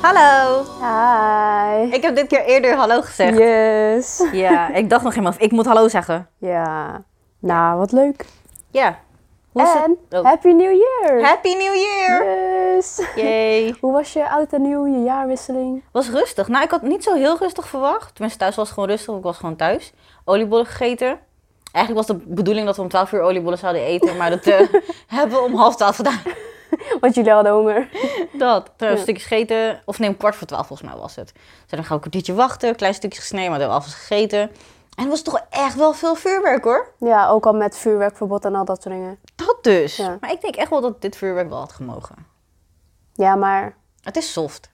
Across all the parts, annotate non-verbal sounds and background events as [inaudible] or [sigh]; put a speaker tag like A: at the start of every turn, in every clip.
A: Hallo.
B: Hi.
A: Ik heb dit keer eerder hallo gezegd.
B: Yes.
A: Ja, ik dacht nog helemaal, ik moet hallo zeggen.
B: Ja. Nou, wat leuk.
A: Ja. Hoe is
B: En
A: het? Oh.
B: Happy New Year.
A: Happy New Year!
B: Yes.
A: Yay.
B: Hoe was je oud en nieuw, je jaarwisseling?
A: Was rustig. Nou, ik had niet zo heel rustig verwacht. Tenminste, thuis was het gewoon rustig. Ik was gewoon thuis. Oliebollen gegeten. Eigenlijk was de bedoeling dat we om 12 uur oliebollen zouden eten. Maar dat eh, hebben we om half 12 gedaan.
B: Want jullie hadden honger.
A: Dat. Toen een
B: Ja.
A: stukje gegeten. Of nee, om kwart voor 12 volgens mij was het. Dus dan gaan we een kwartiertje wachten. Klein stukje gesneden, maar dat hebben we alles gegeten. En het was toch echt wel veel vuurwerk hoor.
B: Ja, ook al met vuurwerkverbod en al dat soort dingen.
A: Dat dus.
B: Ja.
A: Maar ik denk echt wel dat dit vuurwerk wel had gemogen.
B: Ja, maar
A: Het is soft.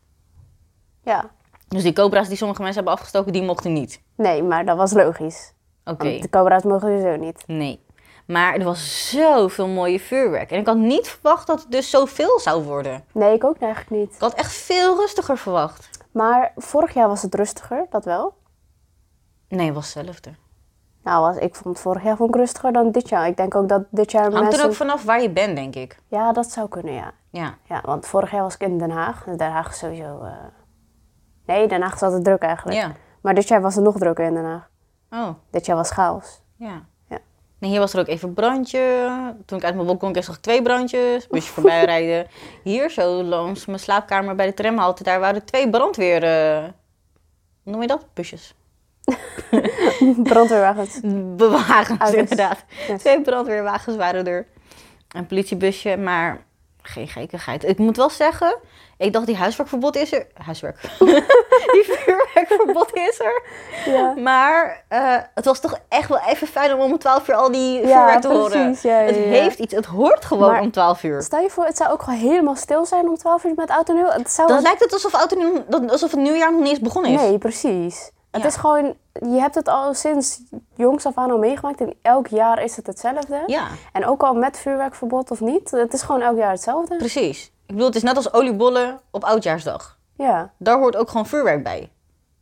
B: ja.
A: Dus die cobra's die sommige mensen hebben afgestoken, die mochten niet.
B: Nee, maar dat was logisch.
A: Oké.
B: Want de cobra's mogen sowieso niet.
A: Nee. Maar er was zoveel mooie vuurwerk. En ik had niet verwacht dat het dus zoveel zou worden.
B: Nee, ik ook eigenlijk niet.
A: Ik had echt veel rustiger verwacht.
B: Maar vorig jaar was het rustiger, dat wel.
A: Nee, het was hetzelfde.
B: Nou, was, ik vond vorig jaar vond ik rustiger dan dit jaar. Ik denk ook dat dit jaar
A: Hangt er
B: mensen...
A: ook vanaf waar je bent, denk ik.
B: Ja, dat zou kunnen, ja.
A: Ja.
B: Ja, want vorig jaar was ik in Den Haag. En Den Haag is sowieso... eh, Nee, Den Haag is altijd druk eigenlijk.
A: Ja.
B: Maar dit jaar was het nog drukker in Den Haag.
A: Oh,
B: Dit jaar was chaos. [laughs]
A: ja.
B: Ja.
A: Nee, hier was er ook even brandje. Toen ik uit mijn balkon keek, zag ik twee brandjes. Moest je
B: [laughs]
A: voorbij rijden. Hier, zo langs mijn slaapkamer bij de tramhalte, daar waren twee brandweer... eh, hoe noem je dat? Busjes.
B: Brandweerwagens.
A: bewagens
B: Mm. Auto's.
A: inderdaad.
B: Yes.
A: Twee brandweerwagens waren er. Een politiebusje, maar geen gekkigheid. Ik moet wel zeggen, ik dacht die huiswerkverbod is er.
B: [laughs]
A: Huiswerk. [laughs] die vuurwerkverbod is er.
B: Ja.
A: Maar eh, het was toch echt wel even fijn om om 12 uur al die
B: Ja,
A: vuurwerk te horen.
B: precies. Ja, ja,
A: Het
B: ja.
A: heeft iets, het hoort gewoon
B: Maar-
A: om 12 uur.
B: Stel je voor, het zou ook gewoon helemaal stil zijn om 12 uur met oud en nieuw. Het zou
A: Dan lijkt het alsof, oud en nieuw- dat- alsof het nieuwjaar nog niet eens begonnen is.
B: Nee, precies. Het
A: Ja.
B: is gewoon... Je hebt het al sinds jongs af aan al meegemaakt. En elk jaar is het hetzelfde.
A: Ja,
B: En ook al met vuurwerkverbod of niet. Het is gewoon elk jaar hetzelfde.
A: precies. Ik bedoel, het is net als oliebollen op oudjaarsdag.
B: Ja,
A: Daar hoort ook gewoon vuurwerk bij.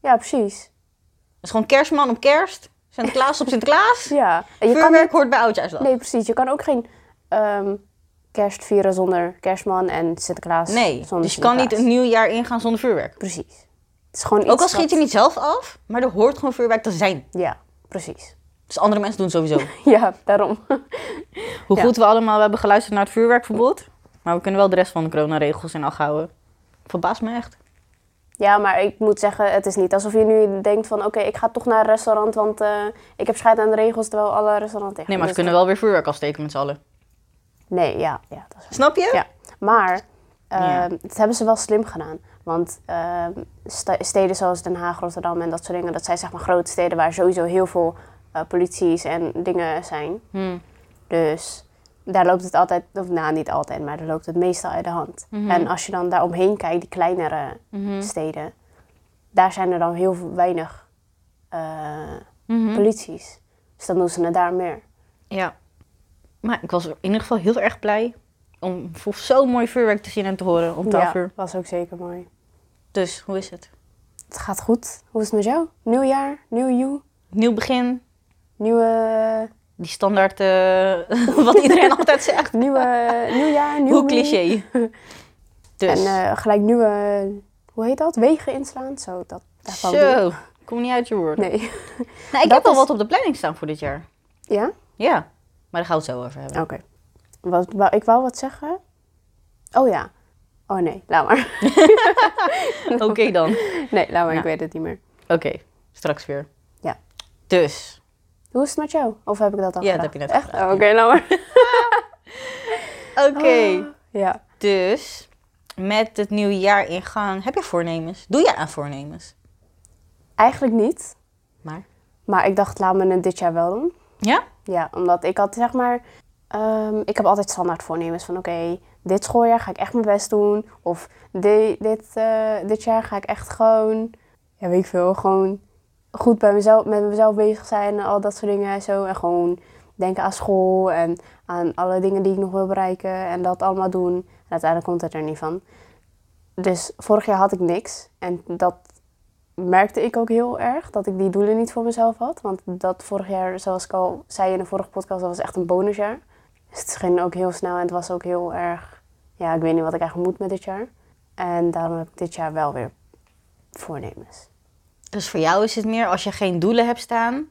B: ja precies.
A: Het is gewoon kerstman op kerst, Sinterklaas op Sinterklaas.
B: Ja. En je kan
A: Vuurwerk hoort bij Oudjaarsdag.
B: Nee, precies. Je kan ook geen ehm, kerst vieren zonder kerstman en Sinterklaas.
A: Nee,
B: zonder
A: dus je kan niet
B: Sinterklaas.
A: een nieuw jaar ingaan zonder vuurwerk.
B: Precies. Het is gewoon
A: Ook al
B: iets
A: schiet je niet zelf af, maar er hoort gewoon vuurwerk te zijn.
B: wat- Ja, precies. [laughs]
A: Dus andere mensen doen het sowieso.
B: Ja, daarom. [laughs]
A: Hoe
B: Ja.
A: goed we allemaal hebben geluisterd naar het vuurwerkverbod. Maar we kunnen wel de rest van de coronaregels in acht houden. Verbaast me echt.
B: ja, maar ik moet zeggen, het is niet alsof je nu denkt van... Oké, ik ga toch naar een restaurant, want eh, ik heb scheid aan de regels... terwijl alle restauranten dicht
A: Nee, maar ze
B: zijn.
A: kunnen wel weer vuurwerk afsteken met z'n allen.
B: Nee, ja, ja, dat is
A: Snap je?
B: Ja, maar eh,
A: Ja.
B: dat hebben ze wel slim gedaan. Want eh, sta- steden zoals Den Haag, Rotterdam en dat soort dingen, dat zijn zeg maar grote steden waar sowieso heel veel eh, polities en dingen zijn.
A: Hmm.
B: Dus daar loopt het altijd, of nou niet altijd, maar daar loopt het meestal uit de hand.
A: Mhm.
B: En als je dan daar omheen kijkt, die kleinere steden, daar zijn er dan heel veel- weinig eh,
A: Mhm.
B: polities. Dus dan doen ze het daar meer.
A: Ja. Maar ik was in ieder geval heel erg blij om voor zo'n mooi vuurwerk te zien en te horen om 12
B: ja,
A: uur.
B: was ook zeker mooi.
A: Dus, hoe is het?
B: Het gaat goed. Hoe is het met jou? Nieuw jaar, nieuw you.
A: Nieuw begin,
B: Nieuwe,
A: Die standaard, eh, [laughs] wat iedereen altijd zegt. [laughs]
B: nieuwe, nieuw jaar, nieuw
A: Hoe
B: me.
A: cliché.
B: En
A: Dus,
B: eh, gelijk nieuwe, hoe heet dat? Wegen inslaan? Zo, dat. daar kwam het
A: zo, kom niet uit je woord.
B: niet. Nee. [laughs]
A: nou, ik
B: dat
A: heb al
B: is-
A: wat op de planning staan voor dit jaar.
B: Ja?
A: Ja, maar daar gaan we het zo over hebben.
B: Oké. Wat, wou- ik wou wat zeggen. Oh ja. Oh nee, laat maar.
A: [laughs] Oké dan. Oké,
B: [laughs] Nee, laat maar,
A: Ja.
B: ik weet het niet meer.
A: straks weer.
B: Ja.
A: Dus,
B: Hoe is het met jou? Of heb ik dat al
A: Ja, dat
B: gevraagd?
A: heb je net
B: Echt?
A: gevraagd,
B: Oh, Oké, laat maar. Ah.
A: oké. Oh.
B: Ja.
A: Dus, met het nieuwe jaar ingaan, heb je voornemens? Doe je aan voornemens?
B: Eigenlijk niet.
A: Maar?
B: Maar ik dacht, laat me het dit jaar wel doen.
A: Ja?
B: Ja, omdat ik had zeg maar... ehm, ik heb altijd standaard voornemens van oké, dit schooljaar ga ik echt mijn best doen. Of di- dit, eh, dit jaar ga ik echt gewoon, ja weet ik veel, gewoon goed bij mezelf, met mezelf bezig zijn en al dat soort dingen en zo. En gewoon denken aan school en aan alle dingen die ik nog wil bereiken en dat allemaal doen. En uiteindelijk komt het er niet van. Dus vorig jaar had ik niks en dat merkte ik ook heel erg dat ik die doelen niet voor mezelf had. Want dat vorig jaar, zoals ik al zei in de vorige podcast, dat was echt een bonusjaar. Dus het ging ook heel snel en het was ook heel erg... Ja, ik weet niet wat ik eigenlijk moet met dit jaar. En daarom heb ik dit jaar wel weer voornemens.
A: Dus voor jou is het meer als je geen doelen hebt staan,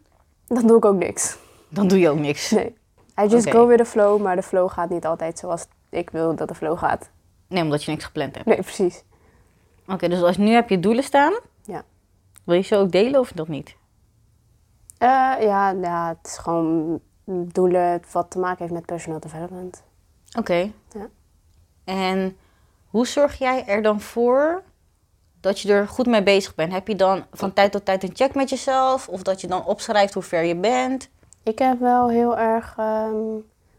B: Dan doe ik ook niks. [laughs]
A: dan doe je ook niks.
B: Nee. I just
A: Oké.
B: go with the flow, maar de flow gaat niet altijd zoals ik wil dat de flow gaat. [laughs]
A: Nee, omdat je niks gepland hebt.
B: Nee, precies.
A: Oké, dus als nu heb je doelen staan,
B: Ja.
A: wil je ze ook delen of nog niet?
B: Eh, ja, ja, het is gewoon doelen wat te maken heeft met personal development.
A: Oké.
B: Ja.
A: En hoe zorg jij er dan voor dat je er goed mee bezig bent? Heb je dan van tijd tot tijd een check met jezelf? Of dat je dan opschrijft hoe ver je bent?
B: Ik heb wel heel erg ehm,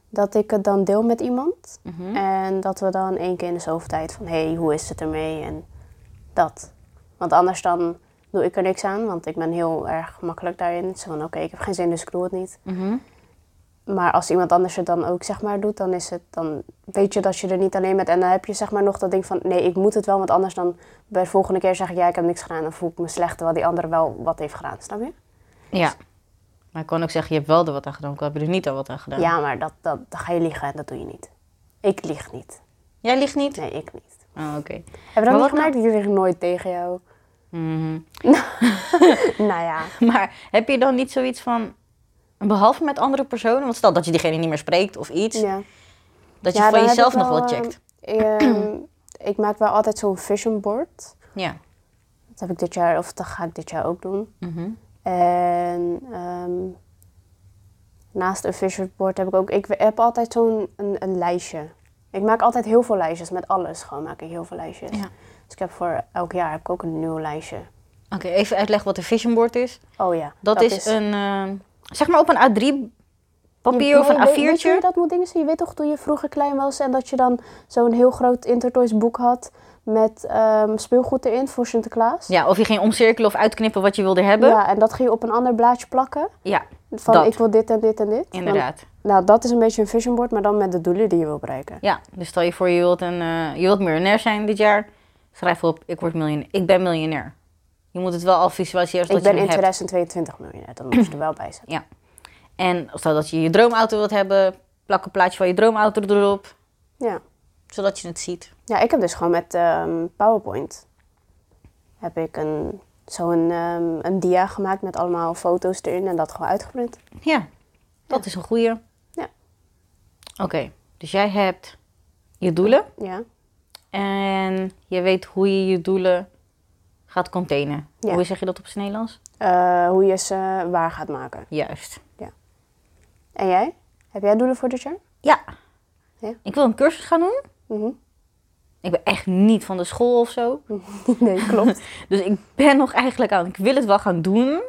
B: dat ik het dan deel met iemand.
A: Mhm.
B: En dat we dan één keer in de zoveel tijd van... hé, hey, hoe is het ermee? En dat. Want anders dan doe ik er niks aan. Want ik ben heel erg makkelijk daarin. Zo van, oké, ik heb geen zin, dus ik doe het niet.
A: Mhm.
B: Maar als iemand anders het dan ook zeg maar doet, dan is het dan weet je dat je er niet alleen bent. En dan heb je zeg maar nog dat ding van nee, ik moet het wel, want anders dan bij de volgende keer zeg ik ja, ik heb niks gedaan. Dan voel ik me slecht terwijl die andere wel wat heeft gedaan, snap je?
A: Ja. Dus- Maar ik kan ook zeggen, je hebt wel er wat aan gedaan, ook al heb je er dus niet al wat aan
B: Ja,
A: gedaan.
B: maar dat, dat, dan ga je liegen en dat doe je niet. Ik lieg niet.
A: Jij ligt niet?
B: Nee, ik niet. nou?
A: Oh, oké.
B: Heb je
A: Maar
B: dat
A: wat
B: niet gemerkt? Ik lieg nooit tegen jou.
A: Mhm.
B: [clears throat]
A: [laughs]
B: nou ja.
A: Maar heb je dan niet zoiets van, behalve met andere personen, want stel dat je diegene niet meer spreekt of iets,
B: [clears throat] ja.
A: dat je
B: Ja,
A: van
B: dan heb
A: jezelf
B: ik
A: nog
B: wel,
A: wat checkt.
B: ehm, [clears throat] ehm, ik maak wel altijd zo'n vision board.
A: Ja.
B: Dat heb ik dit jaar, of dat ga ik dit jaar ook doen.
A: Mhm.
B: En ehm, naast een vision board heb ik ook... Ik heb altijd zo'n een, een lijstje. Ik maak altijd heel veel lijstjes. Met alles gewoon maak ik heel veel lijstjes.
A: Ja.
B: Dus ik heb voor elk jaar heb ik ook een nieuw lijstje.
A: Oké, even uitleggen wat een vision board is.
B: Oh ja.
A: Dat, is, een, eh, zeg maar op een A3 papier
B: Je-
A: of een
B: nee, weet- Weet je hoe je
A: A4'tje.
B: dat moet dingen zien? Je weet toch toen je vroeger klein was en dat je dan zo'n heel groot Intertoys boek had met ehm, speelgoed erin voor Sinterklaas?
A: Ja, of je ging omcirkelen of uitknippen wat je wilde hebben. Ja,
B: Ja, en dat ging je op een ander blaadje plakken. Van
A: Dat.
B: ik wil dit en dit en dit. Dan-
A: inderdaad.
B: nou, dat is een beetje een vision board, maar dan met de doelen die je wil bereiken.
A: Ja, dus stel je voor je wilt, een, eh, je wilt miljonair zijn dit jaar. Schrijf op, ik, word miljonair. ik ben miljonair. Je moet het wel al visualiseren
B: Ik
A: zodat
B: ben
A: je
B: in
A: het hebt.
B: 2022 miljonair, dan moet je er wel bij zetten.
A: Ja. En stel dat je je droomauto wilt hebben, plak een plaatje van je droomauto erop.
B: Ja.
A: Zodat je het ziet.
B: ja, ik heb dus gewoon met ehm, PowerPoint heb ik een, zo'n ehm, een dia gemaakt met allemaal foto's erin en dat gewoon uitgeprint.
A: Ja, dat is een goeie.
B: Ja.
A: Oké, dus jij hebt je doelen.
B: Ja,
A: En je weet hoe je je doelen gaat containen.
B: Ja.
A: Hoe zeg je dat op het Nederlands?
B: Eh, hoe je ze waar gaat maken.
A: Juist.
B: En jij? Heb jij doelen voor dit jaar?
A: Ja.
B: Ja.
A: Ik wil een cursus gaan doen.
B: Mhm. [laughs]
A: Ik ben echt niet van de school of zo.
B: nee, klopt.
A: Dus ik ben nog eigenlijk aan. Ik wil het wel gaan doen.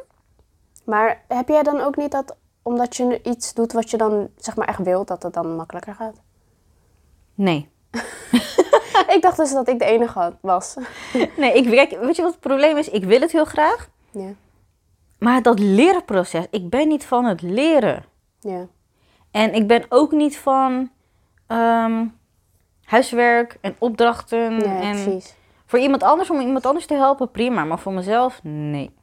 B: maar heb jij dan ook niet dat omdat je iets doet wat je dan zeg maar echt wilt, dat het dan makkelijker gaat?
A: Nee.
B: ik dacht dus dat ik de enige had- was. [laughs]
A: Nee, ik, kijk, weet je wat het probleem is? Ik wil het heel graag.
B: ja,
A: Maar dat lerenproces, ik ben niet van het leren.
B: ja,
A: En ik ben ook niet van ehm, huiswerk en opdrachten.
B: ja,
A: Mm, en
B: precies.
A: Voor iemand anders, om iemand anders te helpen, prima. Maar voor mezelf, nee.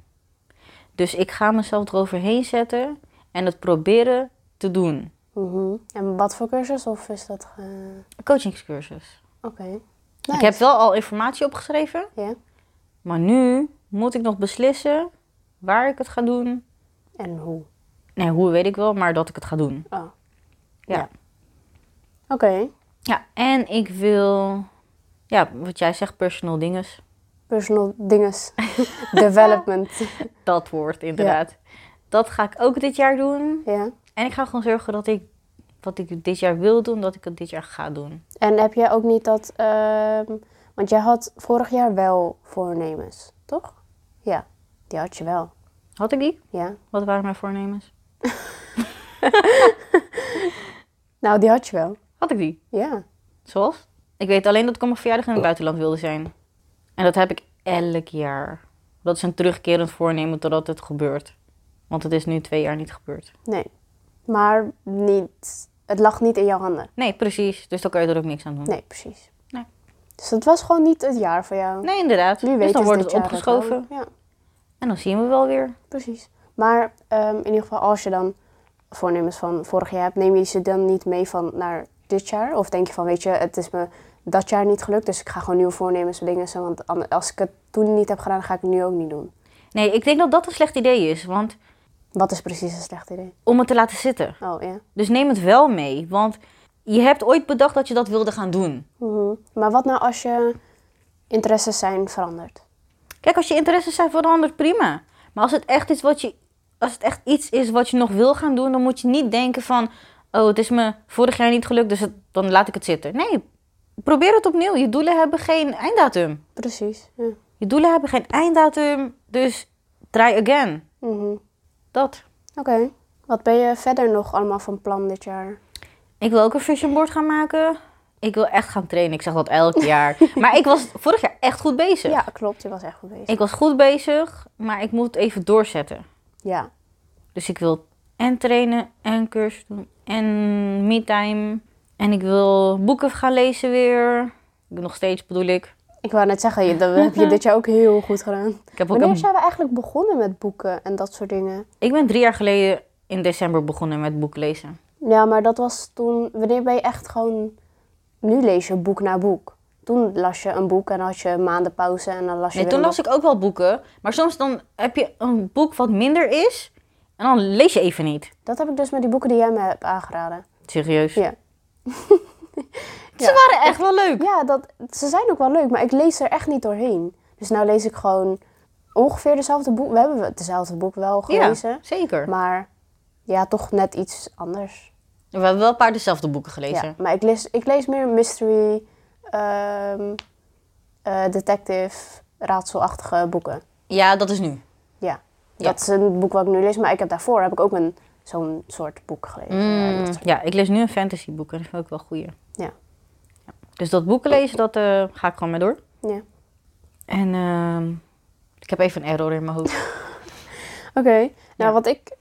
A: Dus ik ga mezelf eroverheen zetten en het proberen te doen.
B: Mhm. En wat voor cursus? Of is dat... eh,
A: Een coachingscursus.
B: Oké.
A: Ik heb wel al informatie opgeschreven,
B: Ja.
A: maar nu moet ik nog beslissen waar ik het ga doen.
B: En hoe?
A: Nee, hoe weet ik wel, maar dat ik het ga doen.
B: Oh.
A: Ja.
B: Ja. Oké.
A: Ja, en ik wil, ja, wat jij zegt, personal dinges.
B: Personal dinges. Development.
A: Dat woord, inderdaad. Dat ga ik ook dit jaar doen.
B: ja.
A: En ik ga gewoon zorgen dat ik wat ik dit jaar wil doen, dat ik het dit jaar ga doen.
B: En heb jij ook niet dat... ehm, want jij had vorig jaar wel voornemens, toch? Ja. Die had je wel.
A: Had ik die?
B: Ja.
A: Wat waren mijn voornemens?
B: Nou, die had je wel.
A: Had ik die?
B: Ja.
A: Zoals? Ik weet alleen dat ik op mijn verjaardag
B: Oh.
A: in het buitenland wilde zijn. En dat heb ik elk jaar. Dat is een terugkerend voornemen totdat het gebeurt. Want het is nu twee jaar niet gebeurd.
B: Nee. Maar niet... Het lag niet in jouw handen.
A: Nee, precies. Dus dan kan je er ook niks aan doen. Nee,
B: Nee, precies.
A: Nee.
B: Dus dat was gewoon niet het jaar voor jou.
A: inderdaad.
B: Wie weet
A: dus dan
B: is
A: wordt
B: dit
A: het
B: jaar wel.
A: opgeschoven.
B: Ja.
A: En dan zien we wel weer.
B: Precies. Maar ehm, in ieder geval, als je dan voornemens van vorig jaar hebt, neem je ze dan niet mee van naar dit jaar? Of denk je van, weet je, het is me dat jaar niet gelukt, dus ik ga gewoon nieuwe voornemens dingen. Want an- als ik het toen niet heb gedaan, dan ga ik het nu ook niet doen.
A: Nee, ik denk dat dat een slecht idee is. Want
B: Wat is precies een slecht idee?
A: om het te laten zitten.
B: Oh, ja.
A: Dus neem het wel mee. Want je hebt ooit bedacht dat je dat wilde gaan doen.
B: Mhm. Maar wat nou als je interesses zijn veranderd?
A: Kijk, als je interesses zijn veranderd, prima. Maar als het echt is wat je. Als het echt iets is wat je nog wil gaan doen, dan moet je niet denken van. Oh, het is me vorig jaar niet gelukt, dus het- dan laat ik het zitten. Nee, probeer het opnieuw. Je doelen hebben geen einddatum.
B: Precies, ja.
A: Je doelen hebben geen einddatum, dus try again.
B: Mhm.
A: Dat.
B: Oké. Wat ben je verder nog allemaal van plan dit jaar?
A: Ik wil ook een vision board gaan maken. Ik wil echt gaan trainen. Ik zeg dat elk jaar. Maar ik was vorig jaar echt goed bezig.
B: Ja, klopt. Je was echt goed bezig.
A: Ik was goed bezig, maar ik moet het even doorzetten.
B: Ja.
A: Dus ik wil en trainen en cursus doen en me-time. En ik wil boeken gaan lezen weer. Ik doe nog steeds bedoel ik.
B: Ik wou net zeggen, je- dat heb je dit jaar ook heel goed gedaan.
A: Ik, heb ook
B: Wanneer
A: een-
B: zijn we eigenlijk begonnen met boeken en dat soort dingen?
A: ik ben drie jaar geleden in december begonnen met boeken lezen.
B: Ja, maar dat was toen... Wanneer ben je echt gewoon... Nu lees je boek na boek. Toen las je een boek en had je maanden pauze en dan las je
A: Nee,
B: weer
A: toen
B: een
A: las ik ook wel boeken. Maar soms dan heb je een boek wat minder is. En dan lees je even niet.
B: boek. Dat heb ik dus met die boeken die jij me hebt aangeraden.
A: Serieus.
B: Ja.
A: Ze waren echt wel leuk.
B: Ja, dat, ze zijn ook wel leuk, maar ik lees er echt niet doorheen. Dus nou lees ik gewoon ongeveer dezelfde boek. We hebben hetzelfde boek wel gelezen.
A: Ja, zeker.
B: Maar ja, toch net iets anders.
A: We hebben wel een paar dezelfde boeken gelezen.
B: Ja, maar ik lees, ik lees meer mystery, ehm, eh, detective, raadselachtige boeken.
A: Ja, dat is nu.
B: Ja.
A: Ja.
B: dat is een boek wat ik nu lees. Maar ik heb daarvoor heb ik ook een, zo'n soort boek gelezen.
A: Mm.
B: Ja, dat soort-
A: Ja, ik lees nu een fantasyboek en dat vind ik ook wel goeie.
B: Ja.
A: Dus dat boeken lezen, dat eh, ga ik gewoon mee door.
B: ja.
A: En ehm, ik heb even een error in mijn hoofd.
B: Oké, nou
A: Ja.
B: wat ik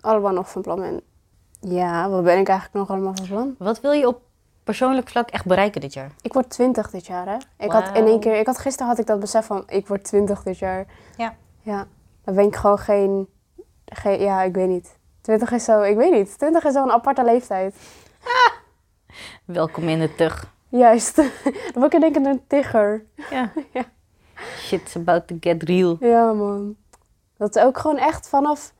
B: allemaal nog van plan ben. Ja, wat ben ik eigenlijk nog allemaal van plan?
A: Wat wil je op persoonlijk vlak echt bereiken dit jaar?
B: Ik word 20 dit jaar, hè? Ik had in
A: Wauw.
B: één keer, ik had gisteren had ik dat besef van, ik word 20 dit jaar.
A: Ja.
B: Ja, dan ben ik gewoon geen, geen ja, ik weet niet. 20 is zo, ik weet niet. 20 is zo'n aparte leeftijd.
A: Welkom in de tug.
B: Juist. [laughs] dan word ik in één keer een tigger.
A: [laughs] Ja.
B: Ja.
A: Shit's about to get real.
B: Ja, man. Dat is ook gewoon echt vanaf.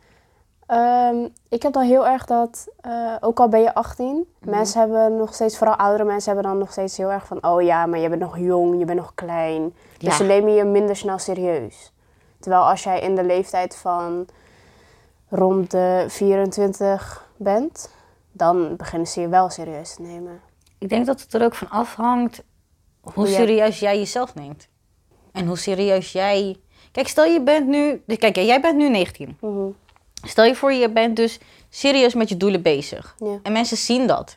B: ehm, ik heb dan heel erg dat, eh, ook al ben je 18, mensen hebben nog steeds, vooral oudere mensen hebben dan nog steeds heel erg van, oh ja, maar je bent nog jong, je bent nog klein. Dus
A: Ja.
B: ze nemen je minder snel serieus. Terwijl als jij in de leeftijd van rond de 24 bent, dan beginnen ze je wel serieus te nemen.
A: Ik denk dat het er ook van afhangt hoe
B: Hoe jij-
A: serieus jij jezelf neemt. En hoe serieus jij... Kijk, stel je bent nu... dus Kijk, jij bent nu 19. Stel je voor, je bent dus serieus met je doelen bezig.
B: Ja.
A: En mensen zien dat.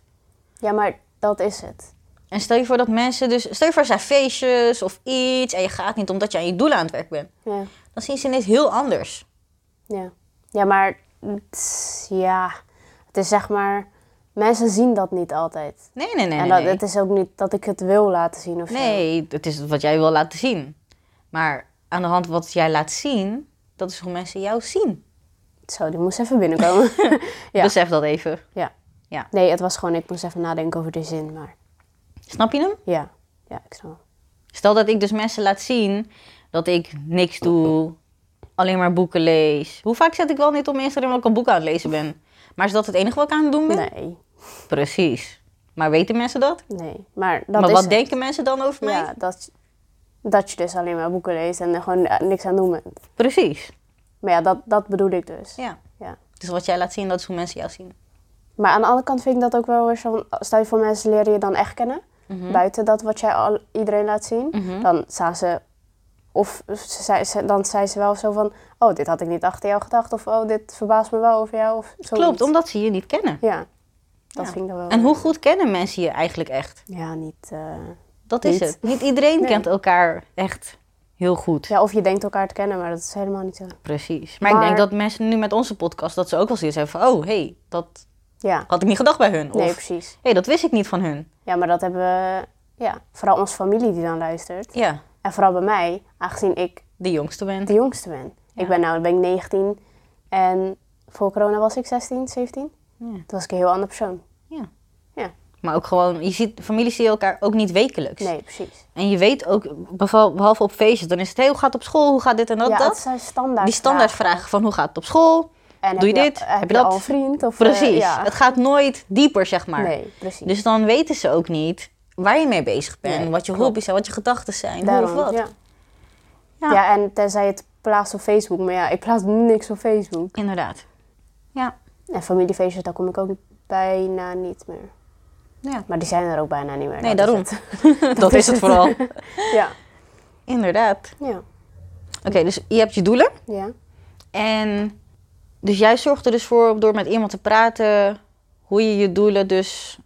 B: ja, maar dat is het.
A: En stel je voor dat mensen dus... Stel je voor, er zijn feestjes of iets en je gaat niet omdat je aan je doelen aan het werk bent.
B: Ja.
A: Dan zien ze ineens heel anders.
B: Ja, ja maar het- ja, het is zeg maar, mensen zien dat niet altijd.
A: Nee, nee, nee.
B: en
A: nee,
B: dat,
A: nee.
B: het is ook niet dat ik het wil laten zien of zo.
A: nee, het is wat jij wil laten zien. Maar aan de hand wat jij laat zien, dat is hoe mensen jou zien.
B: Zo, die moest even binnenkomen.
A: [laughs]
B: Ja.
A: Besef dat even.
B: ja.
A: Dus- Ja.
B: Nee, het was gewoon, ik moest even nadenken over die zin, maar
A: Snap je hem?
B: ja. Ja, ik snap.
A: Stel dat ik dus mensen laat zien dat ik niks doe, alleen maar boeken lees. Hoe vaak zet ik wel niet op mijn Instagram dat ik een boek aan het lezen ben? Maar is dat het enige wat ik aan het doen ben?
B: Nee,
A: Precies. Maar weten mensen dat?
B: nee. Maar dat
A: maar
B: is
A: wat
B: het.
A: denken mensen dan over mij?
B: Ja, dat, dat je dus alleen maar boeken leest en er gewoon eh, niks aan doen bent.
A: Precies.
B: Maar ja, dat, dat bedoel ik dus.
A: Ja.
B: ja.
A: Dus wat jij laat zien, dat is hoe mensen jou zien.
B: Maar aan de andere kant vind ik dat ook wel weer zo. van, Stel je voor mensen leren je dan echt kennen.
A: Mhm.
B: Buiten dat wat jij al iedereen laat zien. Dan staan ze. Of ze, zei- ze- dan zei ze wel zo van. Oh, dit had ik niet achter jou gedacht. Of oh, dit verbaast me wel over jou. Of zoiets.
A: Klopt, omdat ze je niet kennen.
B: Ja, dat
A: Ja.
B: vind ik dan wel.
A: En hoe goed kennen mensen je eigenlijk echt?
B: Ja, niet. eh,
A: Dat is
B: Niet.
A: het. Niet iedereen
B: Nee.
A: kent elkaar echt heel goed.
B: Ja, of je denkt elkaar te kennen, maar dat is helemaal niet zo.
A: Precies. Maar,
B: Maar-
A: ik denk dat mensen nu met onze podcast, dat ze ook wel zoiets hebben van... Oh, hé, hey, dat
B: Ja,
A: had ik niet gedacht bij hun.
B: nee,
A: Of,
B: precies.
A: hé, dat wist ik niet van hun.
B: Ja, maar dat hebben we. Ja, vooral onze familie die dan luistert.
A: Ja,
B: En vooral bij mij, aangezien ik
A: de jongste ben.
B: de jongste ben.
A: Ja.
B: Ik ben nou, ben ik 19 en voor corona was ik 16, 17.
A: Ja.
B: Toen was ik een heel ander persoon.
A: ja.
B: Ja,
A: Maar ook gewoon, je ziet, families zien elkaar ook niet wekelijks.
B: nee, precies.
A: En je weet ook, beval- behalve op feestjes, dan is het, hey, hoe gaat het op school, hoe gaat dit en dat,
B: ja, het
A: dat.
B: zijn standaard
A: Die standaardvragen van, hoe gaat het op school?
B: En
A: Doe
B: heb
A: je dit?
B: al-
A: Heb
B: Heb
A: je
B: je
A: dat?
B: al een vriend? Of, eh,
A: Precies,
B: ja.
A: het gaat nooit dieper, zeg maar.
B: Nee, precies.
A: Dus dan weten ze ook niet waar je mee bezig bent,
B: Nee,
A: wat je
B: klopt.
A: hobby's zijn, wat je gedachten zijn, hoe
B: Daarom,
A: of wat.
B: Ja.
A: Ja.
B: Ja. en tenzij het plaatst op Facebook. Maar ja, ik plaats niks op Facebook.
A: Inderdaad. Ja.
B: En familiefeestjes, daar kom ik ook bijna niet meer.
A: ja.
B: Maar die zijn er ook bijna niet meer.
A: Nee,
B: dat
A: daarom.
B: is
A: [laughs]
B: het. [laughs]
A: Dat, is het vooral.
B: ja.
A: Inderdaad.
B: Ja.
A: Oké, dus je hebt je doelen.
B: ja.
A: En dus jij zorgt er dus voor door met iemand te praten hoe je je doelen dus...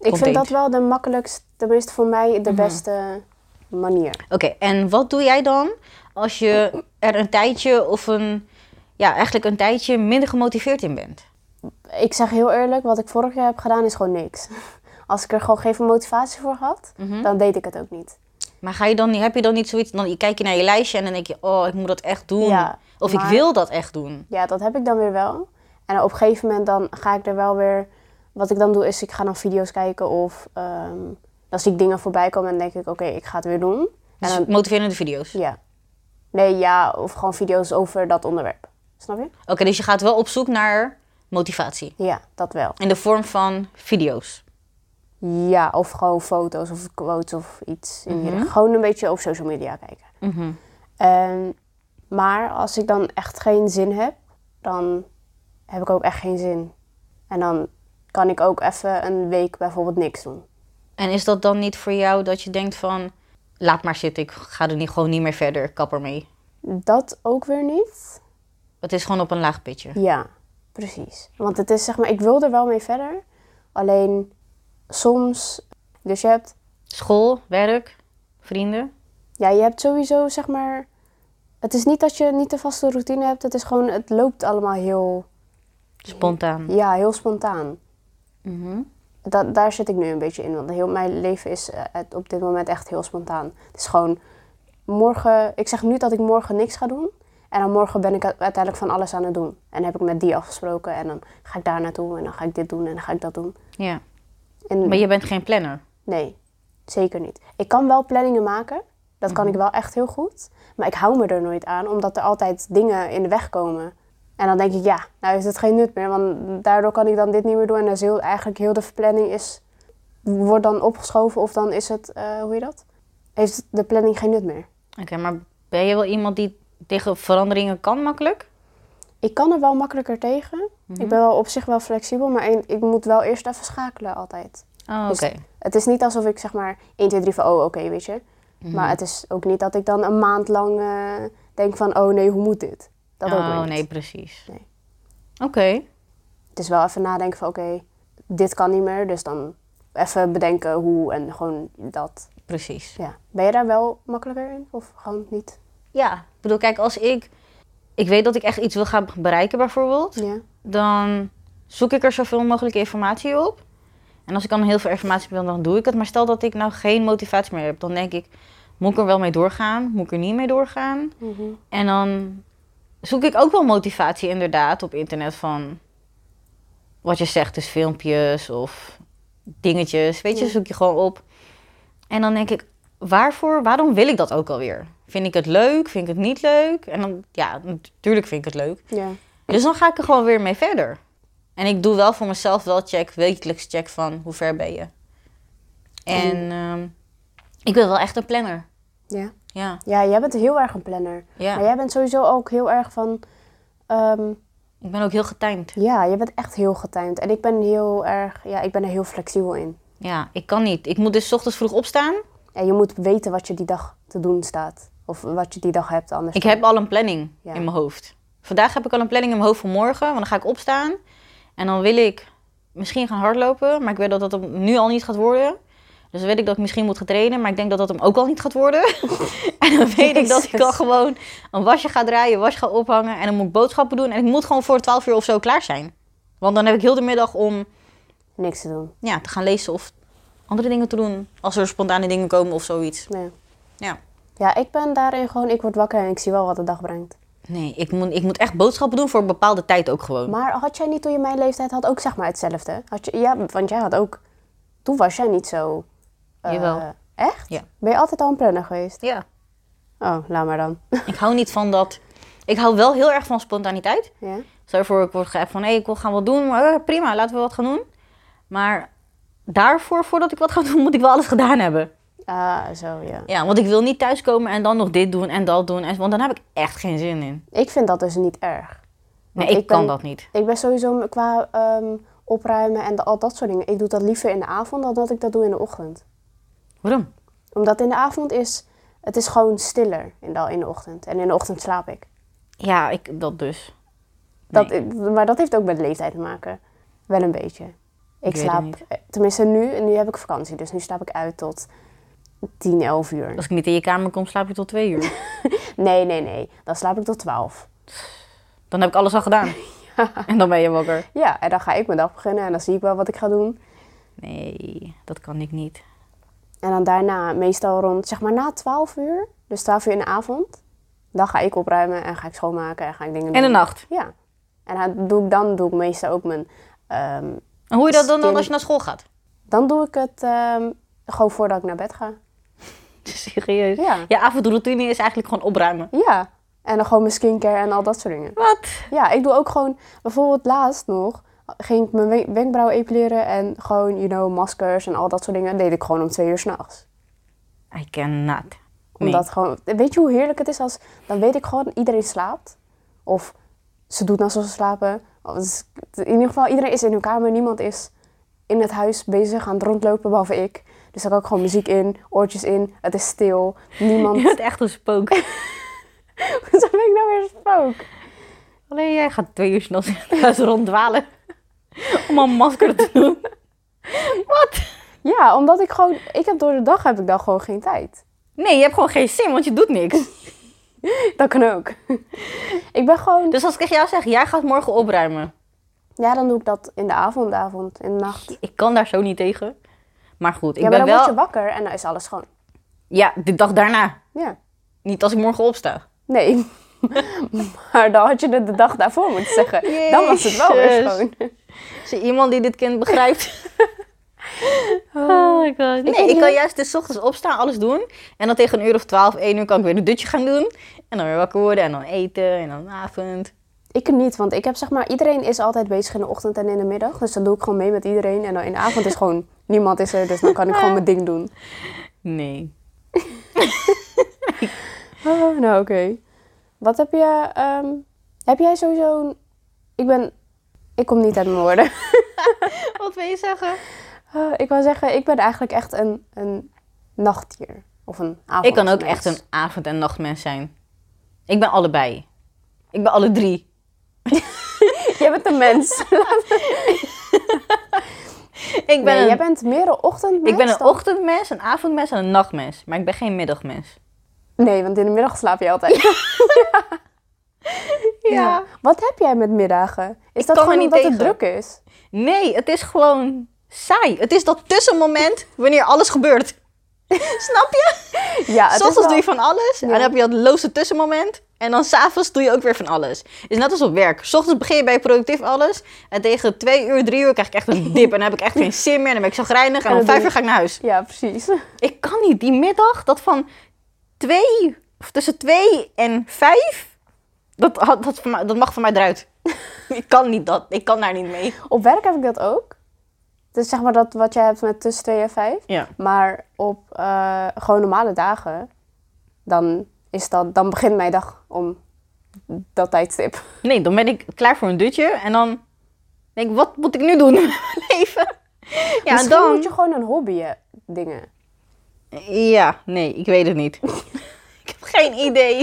B: Ik
A: Contained.
B: vind dat wel de makkelijkste, tenminste voor mij, de beste manier.
A: Oké, en wat doe jij dan als je er een tijdje of een... Ja, eigenlijk een tijdje minder gemotiveerd in bent?
B: Ik zeg heel eerlijk, wat ik vorig jaar heb gedaan is gewoon niks. [laughs] Als ik er gewoon geen motivatie voor had, dan deed ik het ook niet.
A: Maar ga je dan, niet- heb je dan niet zoiets... Dan kijk je naar je lijstje en dan denk je... Oh, ik moet dat echt doen.
B: Ja,
A: of ik
B: maar-
A: wil dat echt doen.
B: Ja, dat heb ik dan weer wel. En op een gegeven moment dan ga ik er wel weer... Wat ik dan doe is, ik ga dan video's kijken of... ehm, dan zie ik dingen voorbij komen en denk ik, oké, ik ga het weer doen. En
A: Dus
B: dan,
A: motiverende video's.
B: ja. Nee, ja, of gewoon video's over dat onderwerp. Snap je?
A: Oké, dus je gaat wel op zoek naar motivatie.
B: Ja, dat wel.
A: In de vorm van video's.
B: Ja, of gewoon foto's of quotes of iets. In die richting. Gewoon een beetje op social media kijken. En- maar als ik dan echt geen zin heb, dan heb ik ook echt geen zin. En dan kan ik ook even een week bijvoorbeeld niks doen.
A: En is dat dan niet voor jou dat je denkt van... Laat maar zitten, ik ga er niet, gewoon niet meer verder, ik kap ermee.
B: Dat ook weer niet.
A: Het is gewoon op een laag pitje.
B: Ja, precies. Want het is zeg maar, ik wil er wel mee verder. Alleen soms, dus je hebt
A: School, werk, vrienden.
B: Ja, je hebt sowieso, zeg maar. Het is niet dat je niet een vaste routine hebt. Het is gewoon, het loopt allemaal heel,
A: Spontaan.
B: ja, heel spontaan.
A: Mhm.
B: Da- daar zit ik nu een beetje in. Want heel mijn leven is eh, het op dit moment echt heel spontaan. Het is gewoon morgen. Ik zeg nu dat ik morgen niks ga doen. En dan morgen ben ik u- uiteindelijk van alles aan het doen. En heb ik met die afgesproken. En dan ga ik daar naartoe. En dan ga ik dit doen. En dan ga ik dat doen.
A: Ja.
B: En
A: Maar je bent geen planner.
B: Nee, zeker niet. Ik kan wel planningen maken. Dat kan ik wel echt heel goed. Maar ik hou me er nooit aan, omdat er altijd dingen in de weg komen. En dan denk ik, ja, nou is het geen nut meer. Want daardoor kan ik dan dit niet meer doen. En dan is heel, eigenlijk heel de planning is, wordt dan opgeschoven. Of dan is het, eh, hoe heet dat? Heeft de planning geen nut meer.
A: Oké, maar ben je wel iemand die tegen veranderingen kan makkelijk?
B: Ik kan er wel makkelijker tegen. Ik ben wel op zich wel flexibel. Maar ik ik moet wel eerst even schakelen altijd.
A: Oh, oké.
B: Dus het is niet alsof ik zeg maar 1, 2, 3 van oh, oké, weet je.
A: Mhm.
B: Maar het is ook niet dat ik dan een maand lang eh, denk van oh nee, hoe moet dit? Dat ook weer
A: Oh,
B: niet.
A: nee, precies.
B: Nee.
A: Oké.
B: Het is wel even nadenken van oké, dit kan niet meer. Dus dan even bedenken hoe en gewoon dat.
A: Precies.
B: Ja. Ben je daar wel makkelijker in of gewoon niet?
A: Ja, ik bedoel, kijk, als ik... Ik weet dat ik echt iets wil gaan bereiken bijvoorbeeld.
B: Ja.
A: dan zoek ik er zoveel mogelijk informatie op. En als ik dan heel veel informatie wil, dan doe ik het. Maar stel dat ik nou geen motivatie meer heb, dan denk ik, moet ik er wel mee doorgaan? Moet ik er niet mee doorgaan?
B: Mhm.
A: En dan zoek ik ook wel motivatie inderdaad op internet van wat je zegt, dus filmpjes of dingetjes. Weet je,
B: Ja.
A: zoek je gewoon op. En dan denk ik, waarvoor, waarom wil ik dat ook alweer? Vind ik het leuk? Vind ik het niet leuk? En dan, ja, natuurlijk vind ik het leuk.
B: Ja.
A: Dus dan ga ik er gewoon weer mee verder. En ik doe wel voor mezelf wel check, wekelijks check van hoe ver ben je. En ehm, ik ben wel echt een planner.
B: Ja.
A: Ja,
B: Ja, jij bent heel erg een planner. Maar
A: ja.
B: jij bent sowieso ook heel erg van. ehm,
A: Ik ben ook heel getimed.
B: ja, je bent echt heel getimed. En ik ben heel erg. Ja, ik ben er heel flexibel in.
A: Ja, ik kan niet. Ik moet dus 's ochtends vroeg opstaan.
B: En je moet weten wat je die dag te doen staat. Of wat je die dag hebt anders.
A: Ik
B: dan-
A: heb al een planning
B: Ja.
A: in mijn hoofd. Vandaag heb ik al een planning in mijn hoofd voor morgen. Want dan ga ik opstaan. En dan wil ik misschien gaan hardlopen. Maar ik weet dat dat hem nu al niet gaat worden. Dus dan weet ik dat ik misschien moet gaan trainen. Maar ik denk dat dat hem ook al niet gaat worden. [laughs] en dan weet ik dat ik al
B: Jezus.
A: gewoon een wasje ga draaien. Wasje ga ophangen. En dan moet ik boodschappen doen. En ik moet gewoon voor 12 uur of zo klaar zijn. Want dan heb ik heel de middag om
B: niks te doen.
A: ja, te gaan lezen of andere dingen te doen. Als er spontane dingen komen of zoiets.
B: Nee.
A: Ja.
B: Ja, ik ben daarin gewoon. Ik word wakker en ik zie wel wat de dag brengt.
A: Nee, ik moet, ik moet echt boodschappen doen voor een bepaalde tijd ook gewoon.
B: Maar had jij niet toen je mijn leeftijd had ook zeg maar hetzelfde? Had je, ja, want jij had ook... Toen was jij niet zo... eh,
A: Jawel.
B: Echt?
A: Ja.
B: Ben je altijd al een planner geweest?
A: Ja.
B: Oh, laat maar dan.
A: [laughs] Ik hou niet van dat. Ik hou wel heel erg van spontaniteit.
B: ja?
A: Stel je voor, ik word geappt van, hé, ik wil gaan wat doen. Maar, eh, prima, laten we wat gaan doen. Maar daarvoor, voordat ik wat ga [laughs] doen, moet ik wel alles gedaan hebben.
B: Ah, zo ja.
A: Ja, want ik wil niet thuiskomen en dan nog dit doen en dat doen. En, want dan heb ik echt geen zin in.
B: Ik vind dat dus niet erg.
A: Nee,
B: Want
A: ik,
B: ik
A: kan
B: ben-
A: dat niet.
B: Ik ben sowieso qua ehm, opruimen en al dat soort dingen. Ik doe dat liever in de avond dan dat ik dat doe in de ochtend.
A: Waarom?
B: Omdat in de avond is het is gewoon stiller in de, in de ochtend. En in de ochtend slaap ik.
A: Ja, ik, dat dus.
B: Dat,
A: Nee.
B: Maar dat heeft ook met leeftijd te maken. Wel een beetje. Ik
A: weet het
B: slaap,
A: niet.
B: eh, tenminste nu, nu heb ik vakantie, dus nu slaap ik uit tot 10, 11 uur.
A: Als ik niet in je kamer kom, slaap je tot twee uur.
B: Nee, nee, nee. Dan slaap ik tot 12.
A: Dan heb ik alles al
B: [laughs]
A: gedaan. En dan ben je wakker.
B: Ja, en dan ga ik mijn dag beginnen en dan zie ik wel wat ik ga doen.
A: Nee, dat kan ik niet.
B: En dan daarna, meestal rond, zeg maar na 12 uur, dus 12 uur in de avond, dan ga ik opruimen en ga ik schoonmaken en ga ik dingen
A: En
B: doen.
A: de nacht.
B: Ja. En dan doe ik, dan doe ik meestal ook mijn. ehm,
A: En hoe je dat dan, dan
B: Stil.
A: als je naar school gaat?
B: dan doe ik het ehm, gewoon voordat ik naar bed ga.
A: [laughs] Serieus?
B: Ja.
A: Je avondroutine is eigenlijk gewoon opruimen.
B: Ja. En dan gewoon mijn skincare en al dat soort dingen.
A: Wat?
B: Ja, ik doe ook gewoon, bijvoorbeeld laatst nog, ging ik mijn wen- wenkbrauwen epileren en gewoon, you know, maskers en al dat soort dingen. deed ik gewoon om twee uur s'nachts.
A: I cannot. Nee.
B: Omdat gewoon, weet je hoe heerlijk het is als, dan weet ik gewoon, iedereen slaapt. Of ze doet nou alsof ze slapen. Of het is- In ieder geval, iedereen is in hun kamer. Niemand is in het huis bezig aan het rondlopen, behalve ik. Dus dan kan ik gewoon muziek in, oortjes in. Het is stil.
A: [laughs] Je
B: Niemand.
A: bent echt een spook. [laughs]
B: [laughs] Zo ben ik nou weer een spook.
A: Alleen jij gaat twee uur s'nachts [laughs] in het huis ronddwalen. Om een masker te doen. Wat?
B: Ja, omdat ik gewoon, ik heb door de dag heb ik dan gewoon geen tijd.
A: Nee, je hebt gewoon geen zin, want je doet niks.
B: Dat kan ook. ik ben gewoon,
A: Dus als ik tegen jou zeg, jij gaat morgen opruimen.
B: ja, dan doe ik dat in de avond, de avond, in de nacht.
A: Ik kan daar zo niet tegen. Maar goed, ik
B: Ja, maar
A: ben
B: dan
A: wel...
B: word je wakker en dan is alles schoon.
A: Ja, de dag daarna.
B: Ja.
A: Niet als ik morgen opsta.
B: Nee. [laughs] maar dan had je het de dag daarvoor moeten zeggen. Dan was het wel weer
A: Jezus.
B: schoon.
A: Is er iemand die dit kind [laughs] begrijpt? Oh my god. Nee, ik kan juist dus ochtends opstaan, alles doen. En dan tegen een uur of twaalf, één uur kan ik weer een dutje gaan doen. En dan weer wakker worden en dan eten en dan avond.
B: Ik niet, want ik heb zeg maar... Iedereen is altijd bezig in de ochtend en in de middag. Dus dan doe ik gewoon mee met iedereen. En dan in de avond is gewoon... Niemand is er, dus dan kan ik [laughs] gewoon mijn ding doen.
A: Nee.
B: Oh, nou, oké. Wat heb je... ehm, heb jij sowieso... een- Ik ben... Ik kom niet uit mijn woorden. [laughs]
A: Wat wil je zeggen?
B: Eh, ik wou zeggen, ik ben eigenlijk echt een, een nachtdier. Of een avond.
A: Ik kan ook echt een avond- en nachtmens zijn. Ik ben allebei. Ik ben alle drie.
B: [laughs] Jij bent een
A: [laughs]
B: mens.
A: Ik ben,
B: nee,
A: een,
B: jij bent meer een ochtendmens
A: ik ben een
B: dan-
A: ochtendmens, een avondmens en een nachtmens. Maar ik ben geen middagmens.
B: Nee, want in de middag slaap je altijd. [laughs] Ja. Wat heb jij met middagen? Is
A: kan
B: dat
A: er
B: gewoon
A: niet
B: omdat
A: tegen.
B: het druk is?
A: Nee, het is gewoon saai. Het is dat tussenmoment wanneer alles gebeurt. [laughs] Snap je?
B: Ja, het
A: Soms
B: is wel-
A: doe je van alles en dan heb je dat loze tussenmoment. En dan s'avonds doe je ook weer van alles. Het is net als op werk. Ochtends begin je bij productief alles. En tegen twee uur, drie uur krijg ik echt [laughs] een dip. En dan heb ik echt geen zin meer. En dan ben ik zo grijnig. En
B: En
A: om
B: dan
A: vijf
B: doe
A: uur ga ik naar huis.
B: Ja, precies. [laughs]
A: Ik kan niet. Die middag, dat van twee, of tussen twee en vijf, dat, had- dat, voor mij- dat mag van mij [laughs] eruit. ik kan niet dat. Ik kan daar niet mee.
B: Op werk heb ik dat ook. Dus zeg maar dat wat jij hebt met tussen 2 en 5.
A: Ja.
B: Maar op eh, gewoon normale dagen, dan, is dat, dan begint mijn dag om dat tijdstip.
A: Nee, dan ben ik klaar voor een dutje en dan denk ik, wat moet ik nu doen [laughs] met mijn leven? Ja, en
B: Misschien
A: dan...
B: moet je gewoon een hobby eh, dingen.
A: Ja, nee, ik weet het niet. ik heb geen idee.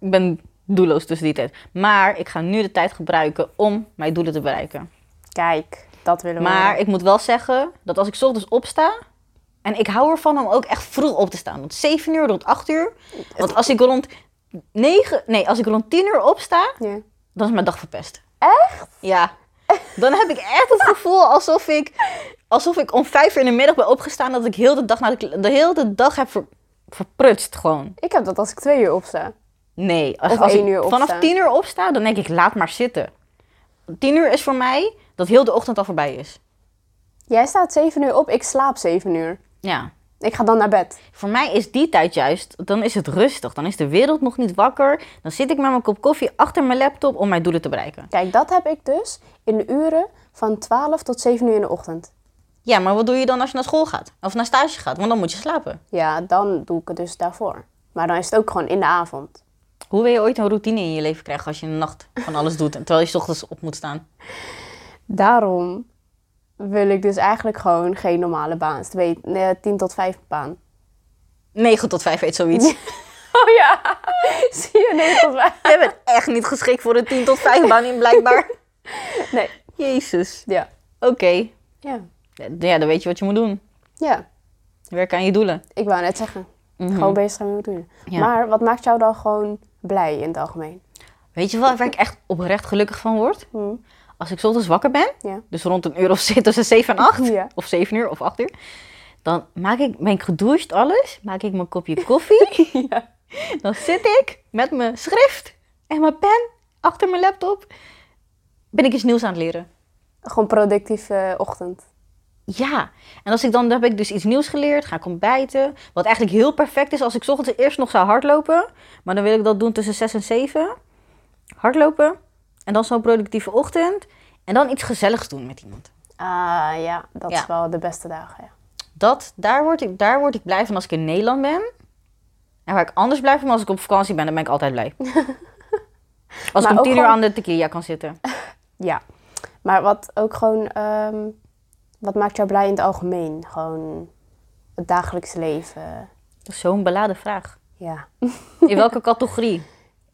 A: Ik ben doelloos tussen die tijd. Maar ik ga nu de tijd gebruiken om mijn doelen te bereiken.
B: Kijk, dat willen we.
A: Maar ik moet wel zeggen dat als ik 's ochtends opsta... En ik hou ervan om ook echt vroeg op te staan. Rond 7 uur, rond 8 uur. Want als ik rond 9... Nee, als ik rond 10 uur opsta,
B: Ja.
A: dan is mijn dag verpest.
B: Echt?
A: Ja. Dan heb ik echt het gevoel alsof ik, alsof ik om vijf uur in de middag ben opgestaan. Dat ik heel de dag, naar de, kle- de, heel de dag heb ver- verprutst gewoon.
B: Ik heb dat als ik twee uur opsta.
A: Nee, als,
B: Of
A: als
B: één
A: ik
B: uur
A: vanaf
B: opstaan.
A: tien uur opsta, dan denk ik, laat maar zitten. Tien uur is voor mij dat heel de ochtend al voorbij is.
B: Jij staat 7 uur op, ik slaap 7 uur.
A: Ja.
B: Ik ga dan naar bed.
A: Voor mij is die tijd juist, dan is het rustig. Dan is de wereld nog niet wakker. Dan zit ik met mijn kop koffie achter mijn laptop om mijn doelen te bereiken.
B: Kijk, dat heb ik dus in de uren van 12 tot 7 uur in de ochtend.
A: Ja, maar wat doe je dan als je naar school gaat? Of naar stage gaat? Want dan moet je slapen.
B: Ja, dan doe ik het dus daarvoor. Maar dan is het ook gewoon in de avond.
A: Hoe wil je ooit een routine in je leven krijgen als je in de nacht van alles doet... terwijl je 's ochtends op moet staan?
B: Daarom wil ik dus eigenlijk gewoon geen normale baan. Dus weet, eh, 10 tot 5 baan.
A: 9 tot 5 heet zoiets.
B: Oh ja, [laughs] zie je 9 tot 5?
A: Jij bent echt niet geschikt voor een 10 tot 5 baan in blijkbaar.
B: Nee,
A: Jezus.
B: ja.
A: Oké.
B: Ja,
A: Ja, dan weet je wat je moet doen.
B: ja.
A: Werk aan je doelen.
B: ik wou net zeggen. Gewoon bezig zijn met doen.
A: Ja.
B: Maar wat maakt jou dan gewoon blij in het algemeen?
A: Weet je wel waar ik echt oprecht gelukkig van word?
B: Hm.
A: Als ik 's ochtends wakker ben,
B: Ja.
A: dus rond een uur of [laughs] zit tussen 7 en 8,
B: Ja.
A: of 7 uur of 8 uur, dan maak ik, ben ik gedoucht, alles, maak ik mijn kopje koffie.
B: [laughs] Ja.
A: Dan zit ik met mijn schrift en mijn pen achter mijn laptop. Ben ik iets nieuws aan het leren.
B: Gewoon productieve ochtend.
A: Ja, en als ik dan, dan heb ik dus iets nieuws geleerd, ga ik ontbijten. Wat eigenlijk heel perfect is als ik 's ochtends eerst nog zou hardlopen. Maar dan wil ik dat doen tussen 6 en 7. Hardlopen en dan zo'n productieve ochtend. En dan iets gezelligs doen met iemand.
B: Ah ja, dat
A: Ja.
B: is wel de beste dagen. Ja.
A: Dat, daar, word ik, daar word ik blij van als ik in Nederland ben. En waar ik anders blij van als ik op vakantie ben, dan ben ik altijd [laughs] blij. als
B: Maar
A: ik om
B: ook
A: tien uur
B: gewoon-
A: aan de tequila kan zitten.
B: Ja, maar wat ook gewoon, ehm, wat maakt jou blij in het algemeen? Gewoon het dagelijks leven.
A: Dat is zo'n beladen vraag.
B: Ja,
A: In welke categorie?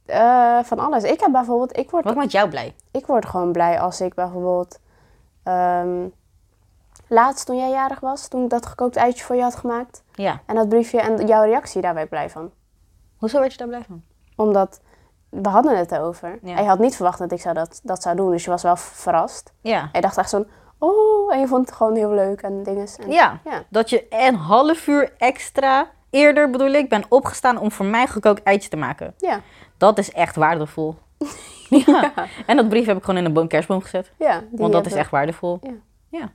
B: Eh, van alles. Ik heb bijvoorbeeld, ik word,
A: Wat maakt jou blij?
B: ik word gewoon blij als ik bijvoorbeeld, ehm, laatst toen jij jarig was, toen ik dat gekookt eitje voor je had gemaakt
A: Ja.
B: en dat briefje en jouw reactie, daar ben ik blij van.
A: Hoezo werd je daar blij van?
B: Omdat we hadden het erover.
A: Ja.
B: En je had niet verwacht dat ik zou dat, dat zou doen, dus je was wel verrast.
A: Ja.
B: En je dacht echt zo'n, oh, en je vond het gewoon heel leuk en dingen. En,
A: Ja,
B: ja.
A: dat je een half uur extra eerder, bedoel ik, ben opgestaan om voor mij gekookt eitje te maken.
B: Ja,
A: Dat is echt [laughs] waardevol. ja. En dat brief heb ik gewoon in een boom, kerstboom gezet.
B: ja. die
A: Want dat is
B: hebben-
A: echt waardevol.
B: Ja.
A: ja.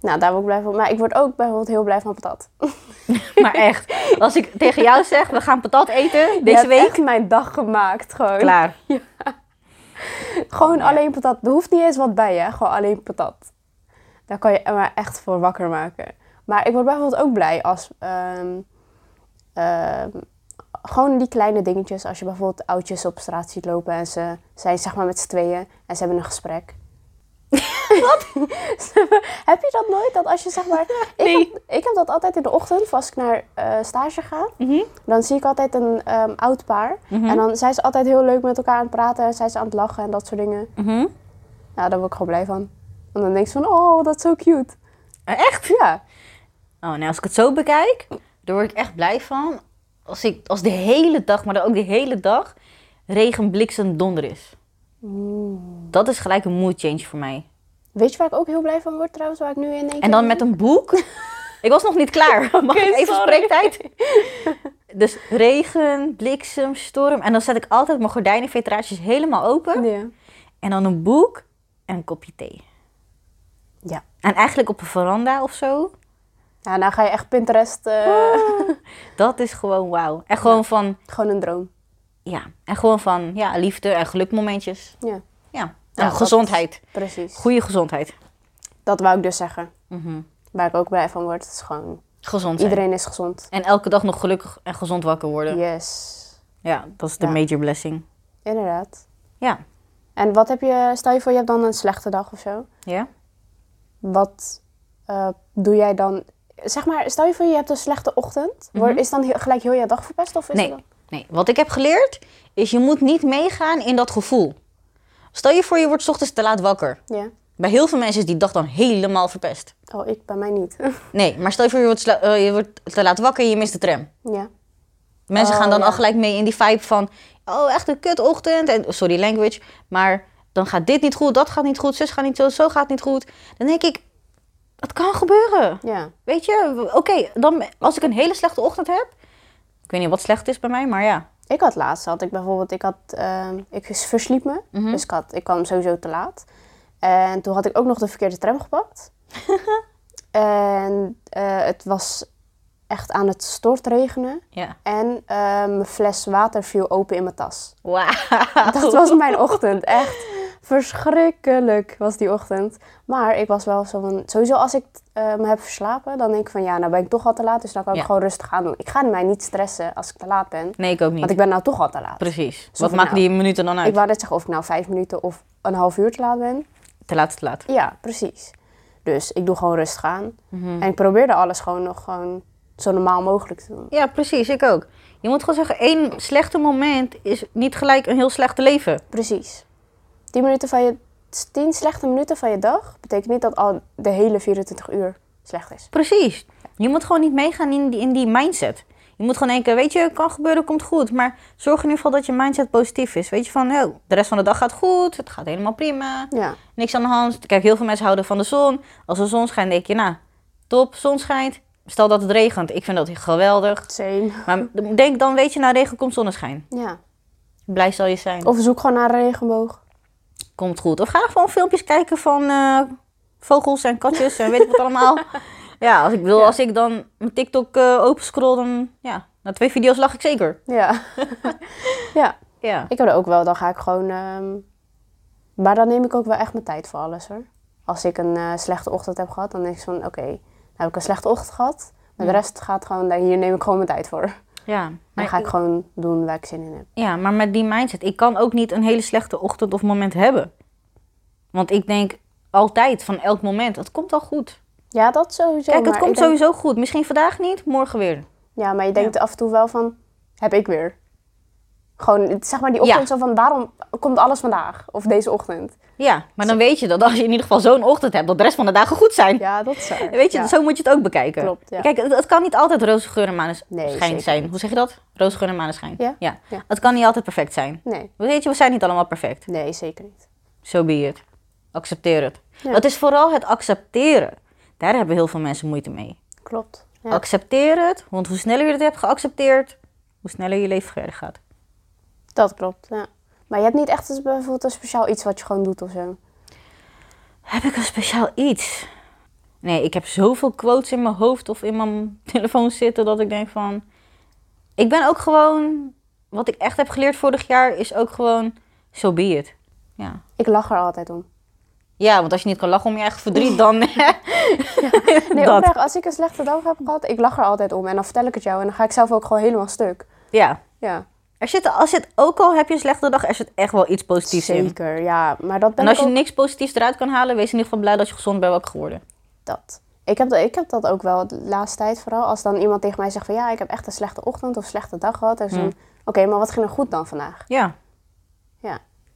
B: Nou, daar word ik blij van. Maar ik word ook bijvoorbeeld heel blij van patat.
A: [laughs] Maar echt, als ik tegen jou zeg, we gaan patat eten
B: Je
A: deze
B: hebt
A: week,
B: echt mijn dag gemaakt gewoon.
A: klaar.
B: Gewoon alleen patat. Er hoeft niet eens wat bij, hè. Gewoon alleen patat. Daar kan je me echt voor wakker maken. Maar ik word bijvoorbeeld ook blij als... ehm, ehm, gewoon die kleine dingetjes. Als je bijvoorbeeld oudjes op straat ziet lopen en ze zijn zeg maar met z'n tweeën en ze hebben een gesprek. Wat? [laughs] heb je dat nooit? Dat als je zeg maar... Ik, heb, ik heb dat altijd in de ochtend, voor als ik naar eh, stage ga. Dan zie ik altijd een ehm, oud paar.
A: Mhm. Hm?
B: En dan zijn ze altijd heel leuk met elkaar aan het praten. En zijn ze aan het lachen en dat soort dingen.
A: Mhm.
B: Nou, daar word ik gewoon blij van. Want dan denk je van, oh, dat is zo cute.
A: Echt?
B: Ja.
A: Oh, nou, als ik het zo bekijk, daar word ik echt blij van. Als, ik, als de hele dag, maar dan ook de hele dag, regen, bliksem, donder is. Dat is gelijk een mood change voor mij.
B: Hm. Weet je waar ik ook heel blij van word trouwens? Waar ik nu in één
A: En
B: keer-
A: dan met een boek. Ik was nog niet klaar. [laughs] Mag ik even
B: sorry.
A: spreektijd? Dus regen, bliksem, storm. En dan zet ik altijd mijn gordijnenvetraatjes helemaal open.
B: Ja.
A: En dan een boek en een kopje thee.
B: Ja.
A: En eigenlijk op een veranda of zo.
B: Ja, nou ga je echt Pinterest... eh,
A: Ah. Dat is gewoon wauw. En gewoon van,
B: [laughs] Gewoon een droom.
A: ja. En gewoon van, ja, liefde en gelukmomentjes.
B: Ja,
A: Ja. En
B: dat is-
A: gezondheid.
B: precies.
A: Goede gezondheid.
B: Dat wou ik dus zeggen.
A: Mhm.
B: Waar ik ook blij van word, is gewoon...
A: Gezond zijn.
B: Iedereen is gezond.
A: En elke dag nog gelukkig en gezond wakker worden. Ja,
B: Yes.
A: dat is de
B: Ja.
A: major blessing.
B: Inderdaad.
A: Ja.
B: En wat heb je... Stel je voor, je hebt dan een slechte dag of zo.
A: Ja?
B: Wat eh, doe jij dan? Zeg maar, stel je voor je hebt een slechte ochtend. Wor- Is dan heel- gelijk heel je dag verpest? Of is
A: Mhm. Nee,
B: het
A: nee. Wat ik heb geleerd is je moet niet meegaan in dat gevoel. Stel je voor je wordt 's ochtends te laat wakker.
B: dan- Ja.
A: Bij heel veel mensen is die dag dan helemaal verpest.
B: Oh, ik bij mij niet. [laughs]
A: Nee, maar stel je voor je wordt, sla- eh, je wordt te laat wakker en je mist de tram.
B: ja.
A: Mensen
B: Oh,
A: gaan dan
B: ja.
A: al gelijk mee in die vibe van... Oh, echt een kutochtend. En, sorry, language. Maar dan gaat dit niet goed, dat gaat niet goed, zus gaat niet zo, zo gaat niet goed. Dan denk ik, dat kan gebeuren.
B: Ja.
A: Weet je, oké, dan als ik een hele slechte ochtend heb... Ik weet niet wat slecht is bij mij, maar ja.
B: Ik had laatst, had ik bijvoorbeeld, ik had, ehm, ik versliep me.
A: Mhm.
B: Dus ik, had, ik kwam sowieso te laat. En toen had ik ook nog de verkeerde tram
A: [laughs]
B: gepakt. en eh, het was echt aan het stortregenen.
A: Ja.
B: En eh, mijn fles water viel open in mijn tas.
A: Wauw.
B: Dat was mijn ochtend. Echt verschrikkelijk was die ochtend. Maar ik was wel zo van... Sowieso als ik eh, me heb verslapen, dan denk ik van... Ja, nou ben ik toch al te laat, dus dan kan ik
A: Ja.
B: gewoon rustig aan doen. Ik ga mij niet stressen als ik te laat ben.
A: [laughs] Nee, ik ook niet.
B: Want ik ben nou toch al te laat.
A: Precies.
B: Zo
A: Wat
B: van,
A: maakt
B: nou,
A: die minuten dan uit?
B: Ik wou net zeggen of ik nou vijf minuten of een half uur te laat ben.
A: Te laat is te laat.
B: Ja, precies. Dus ik doe gewoon rustig aan.
A: Mhm.
B: En ik probeerde alles gewoon nog gewoon zo normaal mogelijk te doen.
A: Ja, precies. Ik ook. Je moet gewoon zeggen, één slechte moment is niet gelijk een heel slechte leven.
B: Precies. 10 minuten van je... 10 slechte minuten van je dag betekent niet dat al de hele 24 uur slecht is.
A: Precies. Je moet gewoon niet meegaan in die, in die mindset. Je moet gewoon denken, weet je, kan gebeuren, komt goed. Maar zorg in ieder geval dat je mindset positief is. Weet je van, oh, de rest van de dag gaat goed. Het gaat helemaal prima.
B: Ja.
A: Niks aan de hand. Kijk, heel veel mensen houden van de zon. Als de zon schijnt, denk je, nou, top, zon schijnt. Stel dat het regent. Ik vind dat geweldig.
B: Same.
A: Maar denk dan, weet je, na regen komt zonneschijn.
B: Ja.
A: Blij zal je zijn.
B: Of zoek gewoon naar een regenboog.
A: komt goed. Of ga gewoon filmpjes kijken van eh, vogels en katjes en weet
B: [laughs]
A: ik wat allemaal. Ja, als ik wil, als ik dan mijn TikTok eh open scroll, dan ja, na twee video's lag ik zeker.
B: Ja. [laughs] ja.
A: Ja.
B: Ik heb er ook wel. Dan ga ik gewoon... ehm, Maar dan neem ik ook wel echt mijn tijd voor alles hoor. Als ik een eh, slechte ochtend heb gehad, dan denk ik van... Oké, nou heb ik een slechte ochtend gehad. Maar de rest gaat gewoon... daar- Hier neem ik gewoon mijn tijd voor.
A: Ja.
B: Dan
A: Maar,
B: ga ik gewoon doen waar ik zin in heb.
A: ja, maar met die mindset. Ik kan ook niet een hele slechte ochtend of moment hebben. Want ik denk altijd van elk moment, het komt al goed.
B: Ja, dat sowieso.
A: Kijk, het
B: maar ik
A: komt
B: denk-
A: sowieso goed. Misschien vandaag niet, morgen weer.
B: Ja, maar je denkt af en toe wel van... Heb ik weer. Gewoon, het- zeg maar die ochtend
A: Ja.
B: zo van... Waarom komt alles vandaag? Of deze
A: [laughs]
B: ochtend?
A: Ja, maar dan weet je dat als je in ieder geval zo'n ochtend hebt, dat de rest van de dagen goed zijn.
B: Ja, dat is waar.
A: Weet je,
B: Ja.
A: zo moet je het ook bekijken.
B: Klopt, ja.
A: Kijk, het, het kan niet altijd roze geur en
B: Nee,
A: maneschijn
B: zeker
A: zijn. Hoe zeg je dat? Roze geur en maneschijn.
B: Ja?
A: Ja.
B: Ja.
A: Het kan niet altijd perfect zijn.
B: Nee.
A: Weet je, we zijn niet allemaal perfect.
B: Nee, zeker niet.
A: So be it. Accepteer het.
B: Ja.
A: Het is vooral het accepteren. Daar hebben heel veel mensen moeite mee.
B: Klopt. Ja.
A: Accepteer het, want hoe sneller je het hebt geaccepteerd, hoe sneller je leven verder gaat.
B: Dat klopt, ja. Maar je hebt niet echt eens bijvoorbeeld een speciaal iets wat je gewoon doet of zo.
A: Heb ik een speciaal iets? Nee, ik heb zoveel quotes in mijn hoofd of in mijn telefoon zitten dat ik denk van... Ik ben ook gewoon... Wat ik echt heb geleerd vorig jaar is ook gewoon... So be it. Ja.
B: Ik lach er altijd om.
A: Ja, want als je niet kan lachen om je eigen verdriet,
B: [laughs]
A: dan... [laughs]
B: Nee,
A: Dat.
B: oprecht, als ik een slechte dag heb gehad, ik lach er altijd om. En dan vertel ik het jou en dan ga ik zelf ook gewoon helemaal stuk.
A: ja.
B: Ja,
A: Er zit, als het, ook al heb je een slechte dag, er zit echt wel iets positiefs in.
B: zeker. Ja, maar dat ben
A: En als
B: ik
A: je
B: ook...
A: niks positiefs eruit kan halen, wees in ieder geval blij dat je gezond bent ook geworden.
B: Dat. Ik heb, dat, ik heb dat ook wel de laatste tijd vooral. Als dan iemand tegen mij zegt van ja, ik heb echt een slechte ochtend of slechte dag gehad. En zo,
A: Hmm.
B: oké, maar wat ging er goed dan vandaag?
A: Ja,
B: Ja.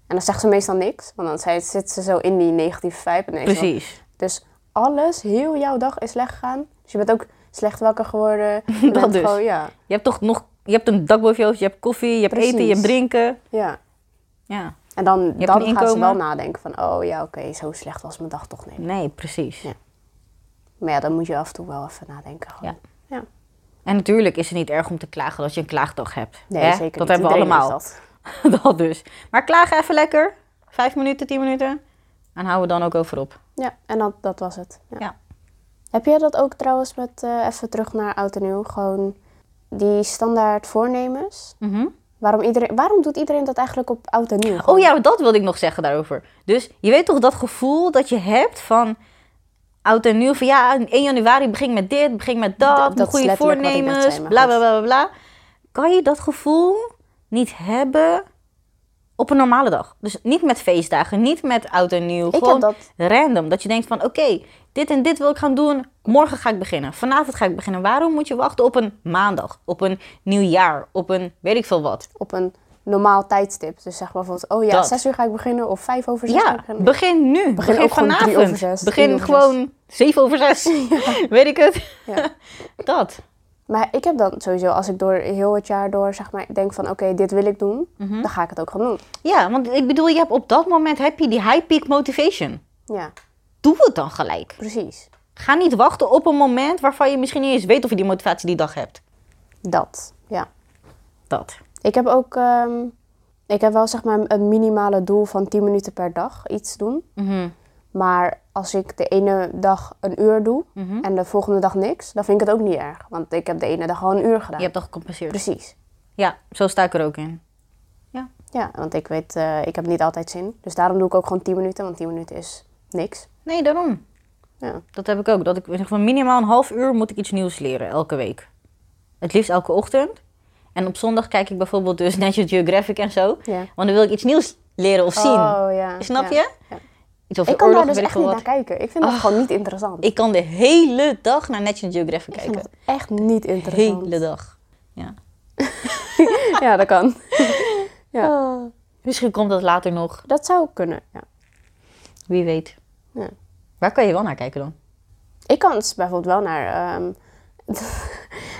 B: En dan zegt ze meestal niks, want dan zij- zit ze zo in die negatieve vibe. En dan is ze van,
A: precies.
B: Dus alles, heel jouw dag is slecht gegaan. Dus je bent ook slecht wakker
A: [laughs]
B: geworden. Je
A: Dat
B: bent
A: dus.
B: Gewoon, ja,
A: Je hebt toch nog... Je hebt een dak boven je hoofd, je hebt koffie, je hebt eten, je hebt
B: Precies.
A: drinken.
B: ja.
A: Ja.
B: En dan,
A: hebt
B: dan
A: een
B: gaan ze wel
A: inkomen.
B: nadenken van, oh ja, oké, zo slecht was mijn dag toch niet.
A: Nee, precies.
B: Ja. Maar ja, dan moet je af en toe wel even nadenken. gewoon. ja.
A: En natuurlijk is het niet erg om te klagen dat je een klaagdag hebt.
B: Nee,
A: Hè?
B: zeker
A: Dat
B: niet.
A: hebben we
B: Iedereen
A: allemaal.
B: is dat.
A: [laughs] Dat. dus. Maar klaag even lekker. Vijf minuten, tien minuten. En hou er dan ook over op.
B: Ja, en dat, dat was het. Ja.
A: Ja.
B: Heb jij dat ook trouwens met, eh, even terug naar oud en nieuw, gewoon die standaard voornemens?
A: Mhm.
B: Waarom, iedereen, waarom doet iedereen dat eigenlijk op oud en nieuw?
A: Oh
B: Gewoon?
A: ja, dat wilde ik nog zeggen daarover. Dus je weet toch dat gevoel dat je hebt van oud en nieuw. Van ja, in 1 januari begin ik met dit, begin ik met dat.
B: Dat-
A: mijn
B: dat is
A: goede
B: letterlijk wat ik net
A: voornemens,
B: zei, maar
A: bla,
B: goed.
A: bla bla bla bla. Kan je dat gevoel niet hebben op een normale dag? Dus niet met feestdagen, niet met oud en nieuw.
B: Ik heb
A: gewoon
B: dat.
A: random. Dat je denkt van oké, dit en dit wil ik gaan doen. Morgen ga ik beginnen. Vanavond ga ik beginnen. Waarom moet je wachten op een maandag? Op een nieuw jaar? Op een weet ik veel wat?
B: Op een normaal tijdstip. Dus zeg maar bijvoorbeeld, oh ja,
A: Dat.
B: zes uur ga ik beginnen of vijf over zes ga
A: Ja,
B: ik beginnen.
A: begin nu. Begin,
B: ook gewoon drie
A: vanavond.
B: over zes, drie
A: begin
B: over
A: gewoon 7 over
B: [laughs]
A: 6. Weet ik het?
B: Ja.
A: [laughs] Dat.
B: Maar ik heb dan sowieso, als ik door heel het jaar door zeg maar denk van oké, dit wil ik doen,
A: Mhm.
B: dan ga ik het ook gaan doen.
A: Ja, want ik bedoel, je hebt op dat moment heb je die high peak motivation.
B: Ja,
A: Doe het dan gelijk.
B: precies.
A: Ga niet wachten op een moment waarvan je misschien niet eens weet of je die motivatie die dag hebt.
B: Dat, ja.
A: Dat.
B: Ik heb ook, ehm, ik heb wel zeg maar een minimale doel van 10 minuten per dag iets doen.
A: Mhm.
B: Maar als ik de ene dag een uur doe
A: Mhm.
B: en de volgende dag niks, dan vind ik het ook niet erg. Want ik heb de ene dag al een uur gedaan.
A: Je hebt al gecompenseerd.
B: Precies.
A: Ja, zo sta ik er ook in.
B: Ja, want ik weet, eh, ik heb niet altijd zin. Dus daarom doe ik ook gewoon 10 minuten, want 10 minuten is niks.
A: Nee, daarom.
B: Ja.
A: Dat heb ik ook. Dat ik in ieder geval minimaal een half uur moet ik iets nieuws leren elke week. Het liefst elke ochtend. En op zondag kijk ik bijvoorbeeld dus [laughs] National Geographic en zo.
B: Ja.
A: Want dan wil ik iets nieuws leren of zien.
B: Oh, ja.
A: Snap
B: Ja.
A: je?
B: Ja.
A: Iets over
B: Ik
A: de
B: kan
A: oorlog,
B: daar dus
A: weet ik
B: echt
A: veel
B: niet
A: wat.
B: naar kijken. Ik vind dat gewoon niet interessant.
A: Oh. Ik kan de hele dag naar National Geographic
B: Ik
A: kijken.
B: vind dat echt niet
A: De
B: interessant.
A: hele dag. Ja.
B: Ja, dat kan. Ja.
A: Misschien komt dat later nog.
B: Dat zou kunnen, ja.
A: Wie weet.
B: Ja.
A: Waar kan je wel naar kijken dan?
B: Ik kan dus bijvoorbeeld wel naar, ehm, [laughs]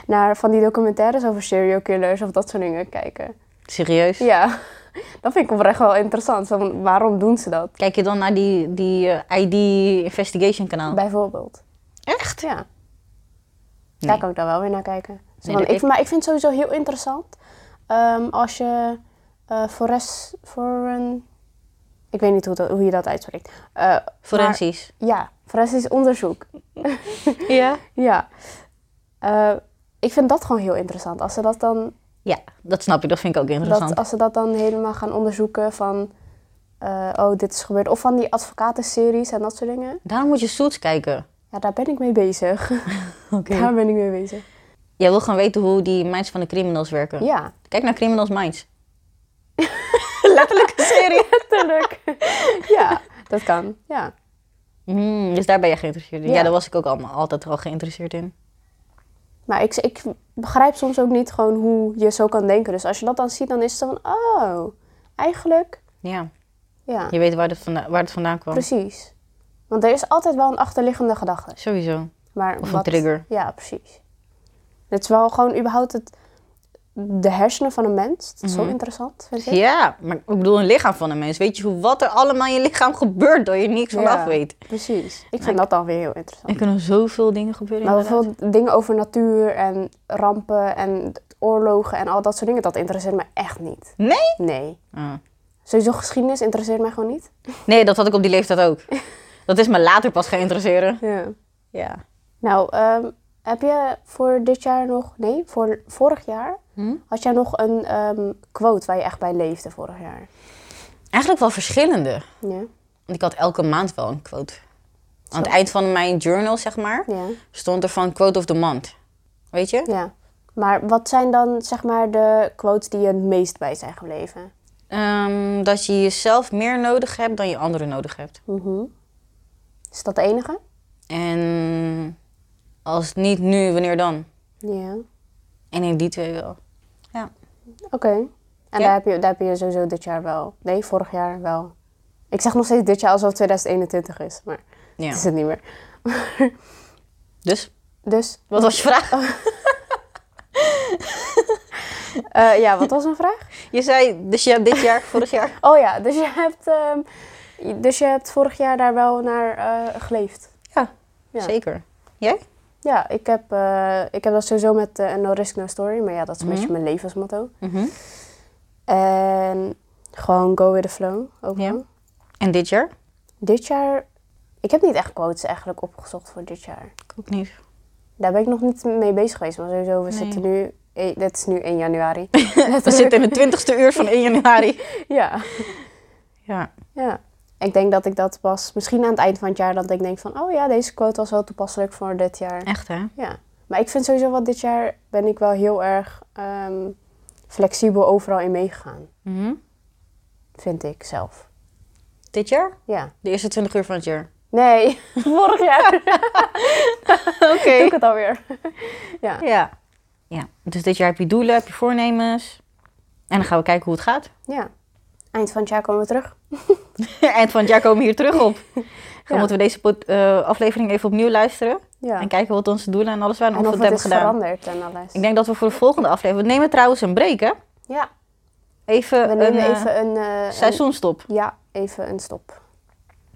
B: naar van die documentaires over serial killers of dat soort dingen kijken.
A: Serieus?
B: Ja, dat vind ik oprecht wel interessant. Zo van, waarom doen ze dat?
A: Kijk je dan naar die, die eh, ID investigation kanaal?
B: Bijvoorbeeld.
A: Oh. Echt?
B: Ja.
A: Nee.
B: Daar kan ik dan wel weer naar kijken. Zo
A: Nee,
B: van,
A: dat
B: ik,
A: ik-
B: Maar ik vind het sowieso heel interessant ehm, als je eh fores, foren- ik weet niet hoe, dat, hoe je dat uitspreekt. Eh,
A: Forensisch.
B: maar- ja, forensisch onderzoek.
A: Ja.
B: Ja. Eh, ik vind dat gewoon heel interessant. Als ze dat dan
A: Ja, dat snap ik. Dat vind ik ook interessant.
B: Dat, als ze dat dan helemaal gaan onderzoeken van... eh, oh, dit is gebeurd. Of van die advocatenseries en dat soort dingen.
A: Daarom moet je Suits kijken.
B: Ja, daar ben ik mee bezig. [laughs]
A: Oké.
B: Daar ben ik mee bezig.
A: Jij wil gewoon weten hoe die minds van de criminals werken.
B: Ja,
A: Kijk naar Criminals Minds. Letterlijk een serie.
B: tuurlijk. [laughs] ja, dat kan. Ja.
A: Mm, dus daar ben je geïnteresseerd in. Ja,
B: Ja.
A: daar was ik ook allemaal, altijd al geïnteresseerd in.
B: Maar ik, ik begrijp soms ook niet gewoon hoe je zo kan denken. Dus als je dat dan ziet, dan is het zo van... Oh, eigenlijk...
A: Ja,
B: Ja,
A: je weet waar het, vanda- waar het vandaan kwam.
B: precies. Want er is altijd wel een achterliggende gedachte.
A: Sowieso.
B: Maar
A: Of een
B: wat-
A: trigger.
B: Ja, precies. Het is wel gewoon überhaupt het, de hersenen van een mens. Dat is zo interessant, vind ik.
A: Mhm. Ja, maar ik bedoel een lichaam van een mens. Weet je hoe, wat er allemaal in je lichaam gebeurt door je niks van
B: Ja.
A: af weet?
B: Precies. Ik vind dat dan weer heel interessant.
A: Er kunnen zoveel dingen gebeuren
B: Maar
A: inderdaad.
B: bijvoorbeeld dingen over natuur en rampen en oorlogen en al dat soort dingen, dat interesseert me echt niet.
A: Nee?
B: Nee.
A: Ah.
B: Sowieso geschiedenis interesseert mij gewoon niet.
A: Nee, dat had ik op die leeftijd ook. Dat is me later pas gaan interesseren.
B: Ja.
A: Ja.
B: Nou, ehm, heb je voor dit jaar nog, nee, voor vorig jaar,
A: Hm?
B: had jij nog een ehm, quote waar je echt bij leefde vorig jaar?
A: Eigenlijk wel verschillende.
B: Ja.
A: Want ik had elke maand wel een quote. Aan het eind van mijn journal, zeg maar,
B: Ja.
A: stond er van quote of the month. Weet je?
B: Ja. Maar wat zijn dan, zeg maar, de quotes die je het meest bij zijn gebleven?
A: Ehm, dat je jezelf meer nodig hebt dan je anderen nodig hebt.
B: Mhm. Is dat de enige?
A: En als niet nu, wanneer dan?
B: Ja.
A: En in die twee wel. Ja.
B: Oké. En
A: Ja.
B: daar, heb je, daar heb je sowieso dit jaar wel. Nee, vorig jaar wel. Ik zeg nog steeds dit jaar alsof het 2021 is, maar
A: ja.
B: dat is het niet meer.
A: Dus,
B: Dus,
A: wat was je vraag?
B: eh, ja, wat was mijn [laughs] vraag?
A: Je zei, dus je hebt dit [laughs] jaar, vorig jaar.
B: Oh ja, dus je hebt, ehm, je- dus je hebt vorig jaar daar wel naar eh, geleefd.
A: Ja,
B: Ja.
A: zeker. Jij?
B: Ja, ik heb, eh, ik heb dat sowieso met eh, No Risk No Story, maar ja, dat is een
A: Mhm.
B: beetje mijn levensmotto. En gewoon go with the flow. Ook
A: Ja.
B: wel.
A: En dit jaar?
B: Dit jaar, ik heb niet echt quotes eigenlijk opgezocht voor dit jaar.
A: Ik ook niet. [laughs]
B: Daar ben ik nog niet mee bezig geweest. Maar sowieso, we
A: Nee.
B: zitten nu, eh, dit is nu 1
A: [laughs]
B: januari.
A: We zitten in de twintigste uur van 1 januari.
B: ja.
A: Ja.
B: ja. Ik denk dat ik dat pas, misschien aan het eind van het jaar, dat ik denk van, oh ja, deze quote was wel toepasselijk voor dit jaar.
A: Echt, hè?
B: Ja. Maar ik vind sowieso wel, dit jaar ben ik wel heel erg ehm, flexibel overal in meegegaan. Vind ik zelf.
A: Mhm. Dit jaar?
B: Ja.
A: De eerste 20 uur van het jaar.
B: Nee, [laughs] vorig jaar
A: [laughs] Oké. [laughs]
B: doe ik het alweer. ja.
A: Ja. ja. Dus dit jaar heb je doelen, heb je voornemens. En dan gaan we kijken hoe het gaat.
B: ja. Eind van het jaar komen we terug.
A: [laughs] Eind van het jaar komen we hier terug [laughs] op. Dan
B: Ja.
A: moeten we deze pod- eh, aflevering even opnieuw luisteren.
B: Ja.
A: En kijken wat onze doelen en alles waren.
B: En
A: of
B: of
A: we
B: het
A: het
B: is
A: hebben gedaan.
B: veranderd en alles.
A: Ik denk dat we voor de volgende aflevering... We nemen trouwens een break, hè?
B: Ja.
A: Even
B: We nemen
A: een eh,
B: even een, eh, een-
A: seizoenstop.
B: Ja, even een stop.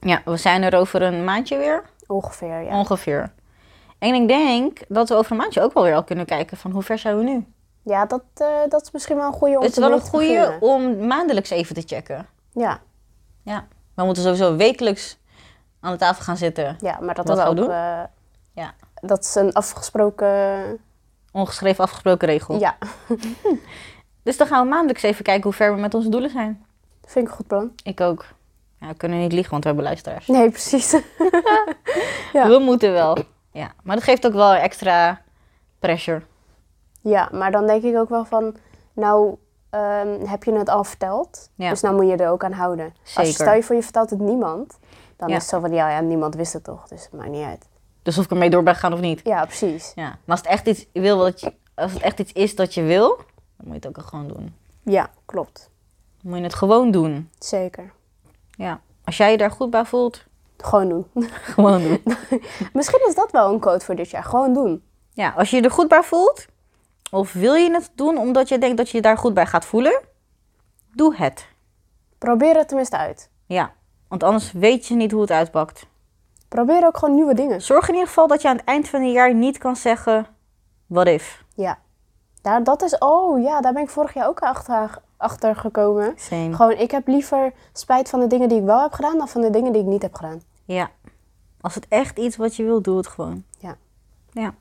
A: Ja, we zijn er over een maandje weer.
B: Ongeveer, ja.
A: Ongeveer. En ik denk dat we over een maandje ook wel weer al kunnen kijken van hoe ver zijn we nu.
B: Ja, dat, eh, dat is misschien wel een goede om
A: Het is
B: te
A: wel een
B: mee te beginnen.
A: goede om maandelijks even te checken.
B: Ja,
A: Ja. We moeten sowieso wekelijks aan de tafel gaan zitten.
B: ja, maar dat
A: Wat
B: is
A: gaan
B: ook...
A: we doen?
B: eh,
A: Ja.
B: dat is een afgesproken...
A: Ongeschreven afgesproken regel.
B: Ja,
A: Dus dan gaan we maandelijks even kijken hoe ver we met onze doelen zijn.
B: vind ik een goed plan. [laughs]
A: Ik ook. Ja, we kunnen niet liegen, want we hebben luisteraars.
B: Nee, precies. [laughs] Ja.
A: We moeten wel. Ja. Maar dat geeft ook wel extra pressure.
B: Ja, maar dan denk ik ook wel van, nou ehm, heb je het al verteld,
A: Ja.
B: dus nou moet je er ook aan houden. Als
A: Zeker.
B: je stel je voor je vertelt het niemand, dan
A: Ja.
B: is het zo van, ja, ja, niemand wist het toch, dus het maakt niet uit.
A: Dus of ik ermee door ben gaan of niet.
B: Ja, precies.
A: Ja. Maar als het echt iets, wil wat je, als het echt iets is dat je wil, dan moet je het ook gewoon doen.
B: Ja, klopt.
A: Dan moet je het gewoon doen.
B: Zeker.
A: Ja. Als jij je daar goed bij voelt, [laughs]
B: Gewoon doen. [laughs]
A: gewoon doen.
B: Misschien is dat wel een code voor dit jaar, gewoon doen.
A: Ja, als je je er goed bij voelt, of wil je het doen omdat je denkt dat je je daar goed bij gaat voelen, doe het.
B: Probeer het tenminste uit.
A: Ja, want anders weet je niet hoe het uitpakt.
B: Probeer ook gewoon nieuwe dingen.
A: Zorg in ieder geval dat je aan het eind van het jaar niet kan zeggen, what if.
B: Ja. Daar, dat is, oh ja, daar ben ik vorig jaar ook achter, achter gekomen.
A: Same.
B: Gewoon, ik heb liever spijt van de dingen die ik wel heb gedaan dan van de dingen die ik niet heb gedaan.
A: Ja, als het echt iets wat je wil, doe het gewoon.
B: Ja.
A: Ja.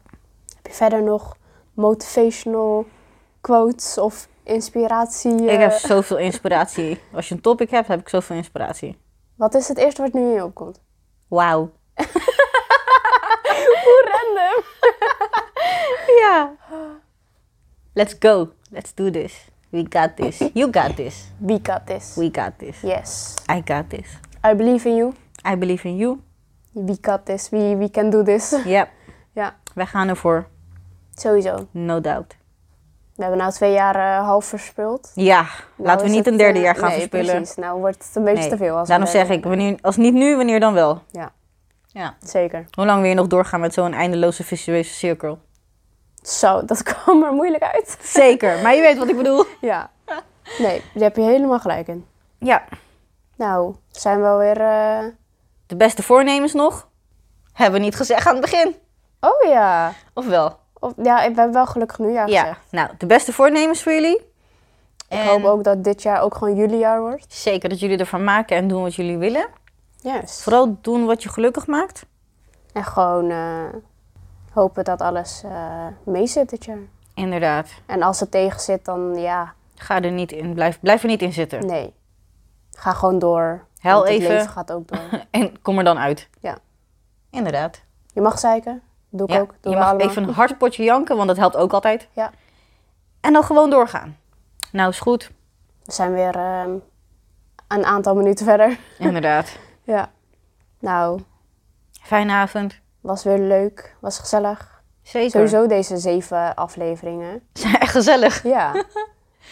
B: Heb je verder nog motivational quotes of inspiratie?
A: Ik
B: eh,
A: heb zoveel inspiratie. Als je een topic hebt, heb ik zoveel inspiratie.
B: Wat is het eerste wat nu in je opkomt?
A: Wauw. [laughs]
B: Hoe random!
A: Ja. Let's go. Let's do this. We got this. You got this.
B: We got this.
A: We got this.
B: Yes.
A: I got this.
B: I believe in you.
A: I believe in you.
B: We got this. We, we can do this. [laughs]
A: Ja,
B: ja,
A: wij gaan ervoor.
B: sowieso.
A: No doubt.
B: We hebben nou twee jaar eh, half verspild.
A: Ja,
B: Nou
A: laten we
B: is
A: niet
B: het,
A: een derde
B: eh,
A: jaar gaan
B: nee,
A: verspillen.
B: precies. Nou wordt het een beetje
A: Nee,
B: te veel. Als we
A: Daarom
B: verder-
A: zeg ik, wanneer, als niet nu, wanneer dan wel?
B: Ja,
A: Ja.
B: zeker.
A: Hoe lang wil je nog doorgaan met zo'n eindeloze visuele cirkel?
B: Zo, dat [laughs] kwam er moeilijk uit.
A: Zeker, maar je weet wat ik bedoel.
B: Ja. Nee, daar heb je helemaal gelijk in.
A: Ja,
B: Nou, zijn we alweer... eh,
A: de beste voornemens nog? Hebben we niet gezegd aan het begin.
B: Oh ja.
A: Of wel?
B: Of, ja, we hebben wel gelukkig nieuwjaar
A: Ja,
B: gezegd.
A: nou, de beste voornemens voor jullie. En
B: Ik hoop ook dat dit jaar ook gewoon jullie jaar wordt.
A: zeker dat jullie ervan maken en doen wat jullie willen.
B: Yes.
A: Vooral doen wat je gelukkig maakt.
B: En gewoon eh, hopen dat alles eh, mee zit dit jaar.
A: Inderdaad.
B: En als het tegen zit, dan ja,
A: Ga er niet in, blijf, blijf er niet in zitten. [laughs]
B: nee. Ga gewoon door.
A: Huil
B: want
A: even.
B: Het leven gaat ook door.
A: En kom er dan uit.
B: Ja.
A: Inderdaad.
B: Je mag zeiken. Doe ik
A: Ja,
B: ook. Doe
A: je mag
B: allemaal.
A: even een hard potje janken, want dat helpt ook altijd.
B: Ja.
A: En dan gewoon doorgaan. Nou, is
B: [laughs]
A: goed.
B: We zijn weer ehm, een aantal minuten verder.
A: [laughs] Inderdaad.
B: Ja. Nou,
A: Fijne avond.
B: was weer leuk. Was gezellig.
A: Zeker.
B: Sowieso deze zeven afleveringen.
A: [laughs] Zijn echt gezellig.
B: Ja. [laughs]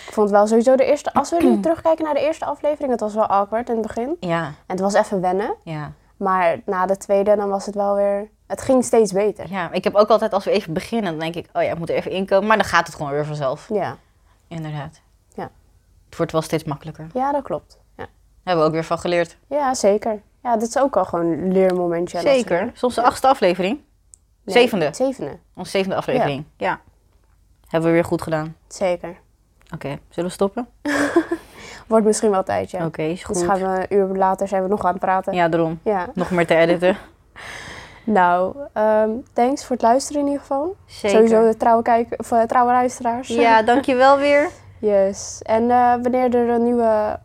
B: Ik vond wel sowieso de eerste... Als we nu terugkijken naar de eerste aflevering, het was wel awkward in het begin.
A: Ja,
B: En het was even wennen.
A: ja,
B: Maar na de tweede, dan was het wel weer... Het ging steeds beter.
A: ja. Ik heb ook altijd, als we even beginnen, dan denk ik, oh ja, ik moet er even inkomen. Maar dan gaat het gewoon weer vanzelf.
B: Ja.
A: Inderdaad.
B: Ja.
A: Het wordt wel steeds makkelijker. Daar
B: Ja, dat klopt. Ja,
A: hebben we ook weer van geleerd.
B: ja zeker. Ja, dit is ook al gewoon een leermomentje. dat
A: Zeker.
B: soort-
A: Soms de achtste aflevering.
B: Nee,
A: Zevende.
B: Zevende,
A: Onze zevende aflevering. Ja. Hebben we weer goed gedaan.
B: zeker.
A: Oké, zullen we stoppen?
B: Wordt misschien wel tijd, ja.
A: Oké, is goed.
B: Dus gaan we eh, een uur later zijn we nog aan het praten.
A: Ja, daarom.
B: Ja.
A: Nog meer te
B: [laughs]
A: editen.
B: Nou, ehm, thanks voor het luisteren in ieder geval.
A: Zeker.
B: Sowieso de trouwe, kijker, of, eh, trouwe luisteraars.
A: Ja, dankjewel weer.
B: [laughs] Yes. En eh, wanneer er een nieuwe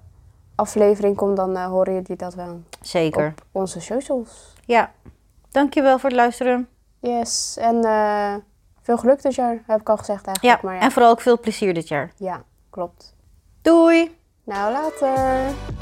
B: aflevering komt, dan eh, horen jullie dat wel
A: Zeker.
B: op onze socials.
A: Ja. Dankjewel voor het luisteren.
B: Yes. En eh, veel geluk dit jaar, heb ik al gezegd eigenlijk. Maar ja.
A: En vooral ook veel plezier dit jaar.
B: ja, klopt.
A: Doei!
B: Nou, later.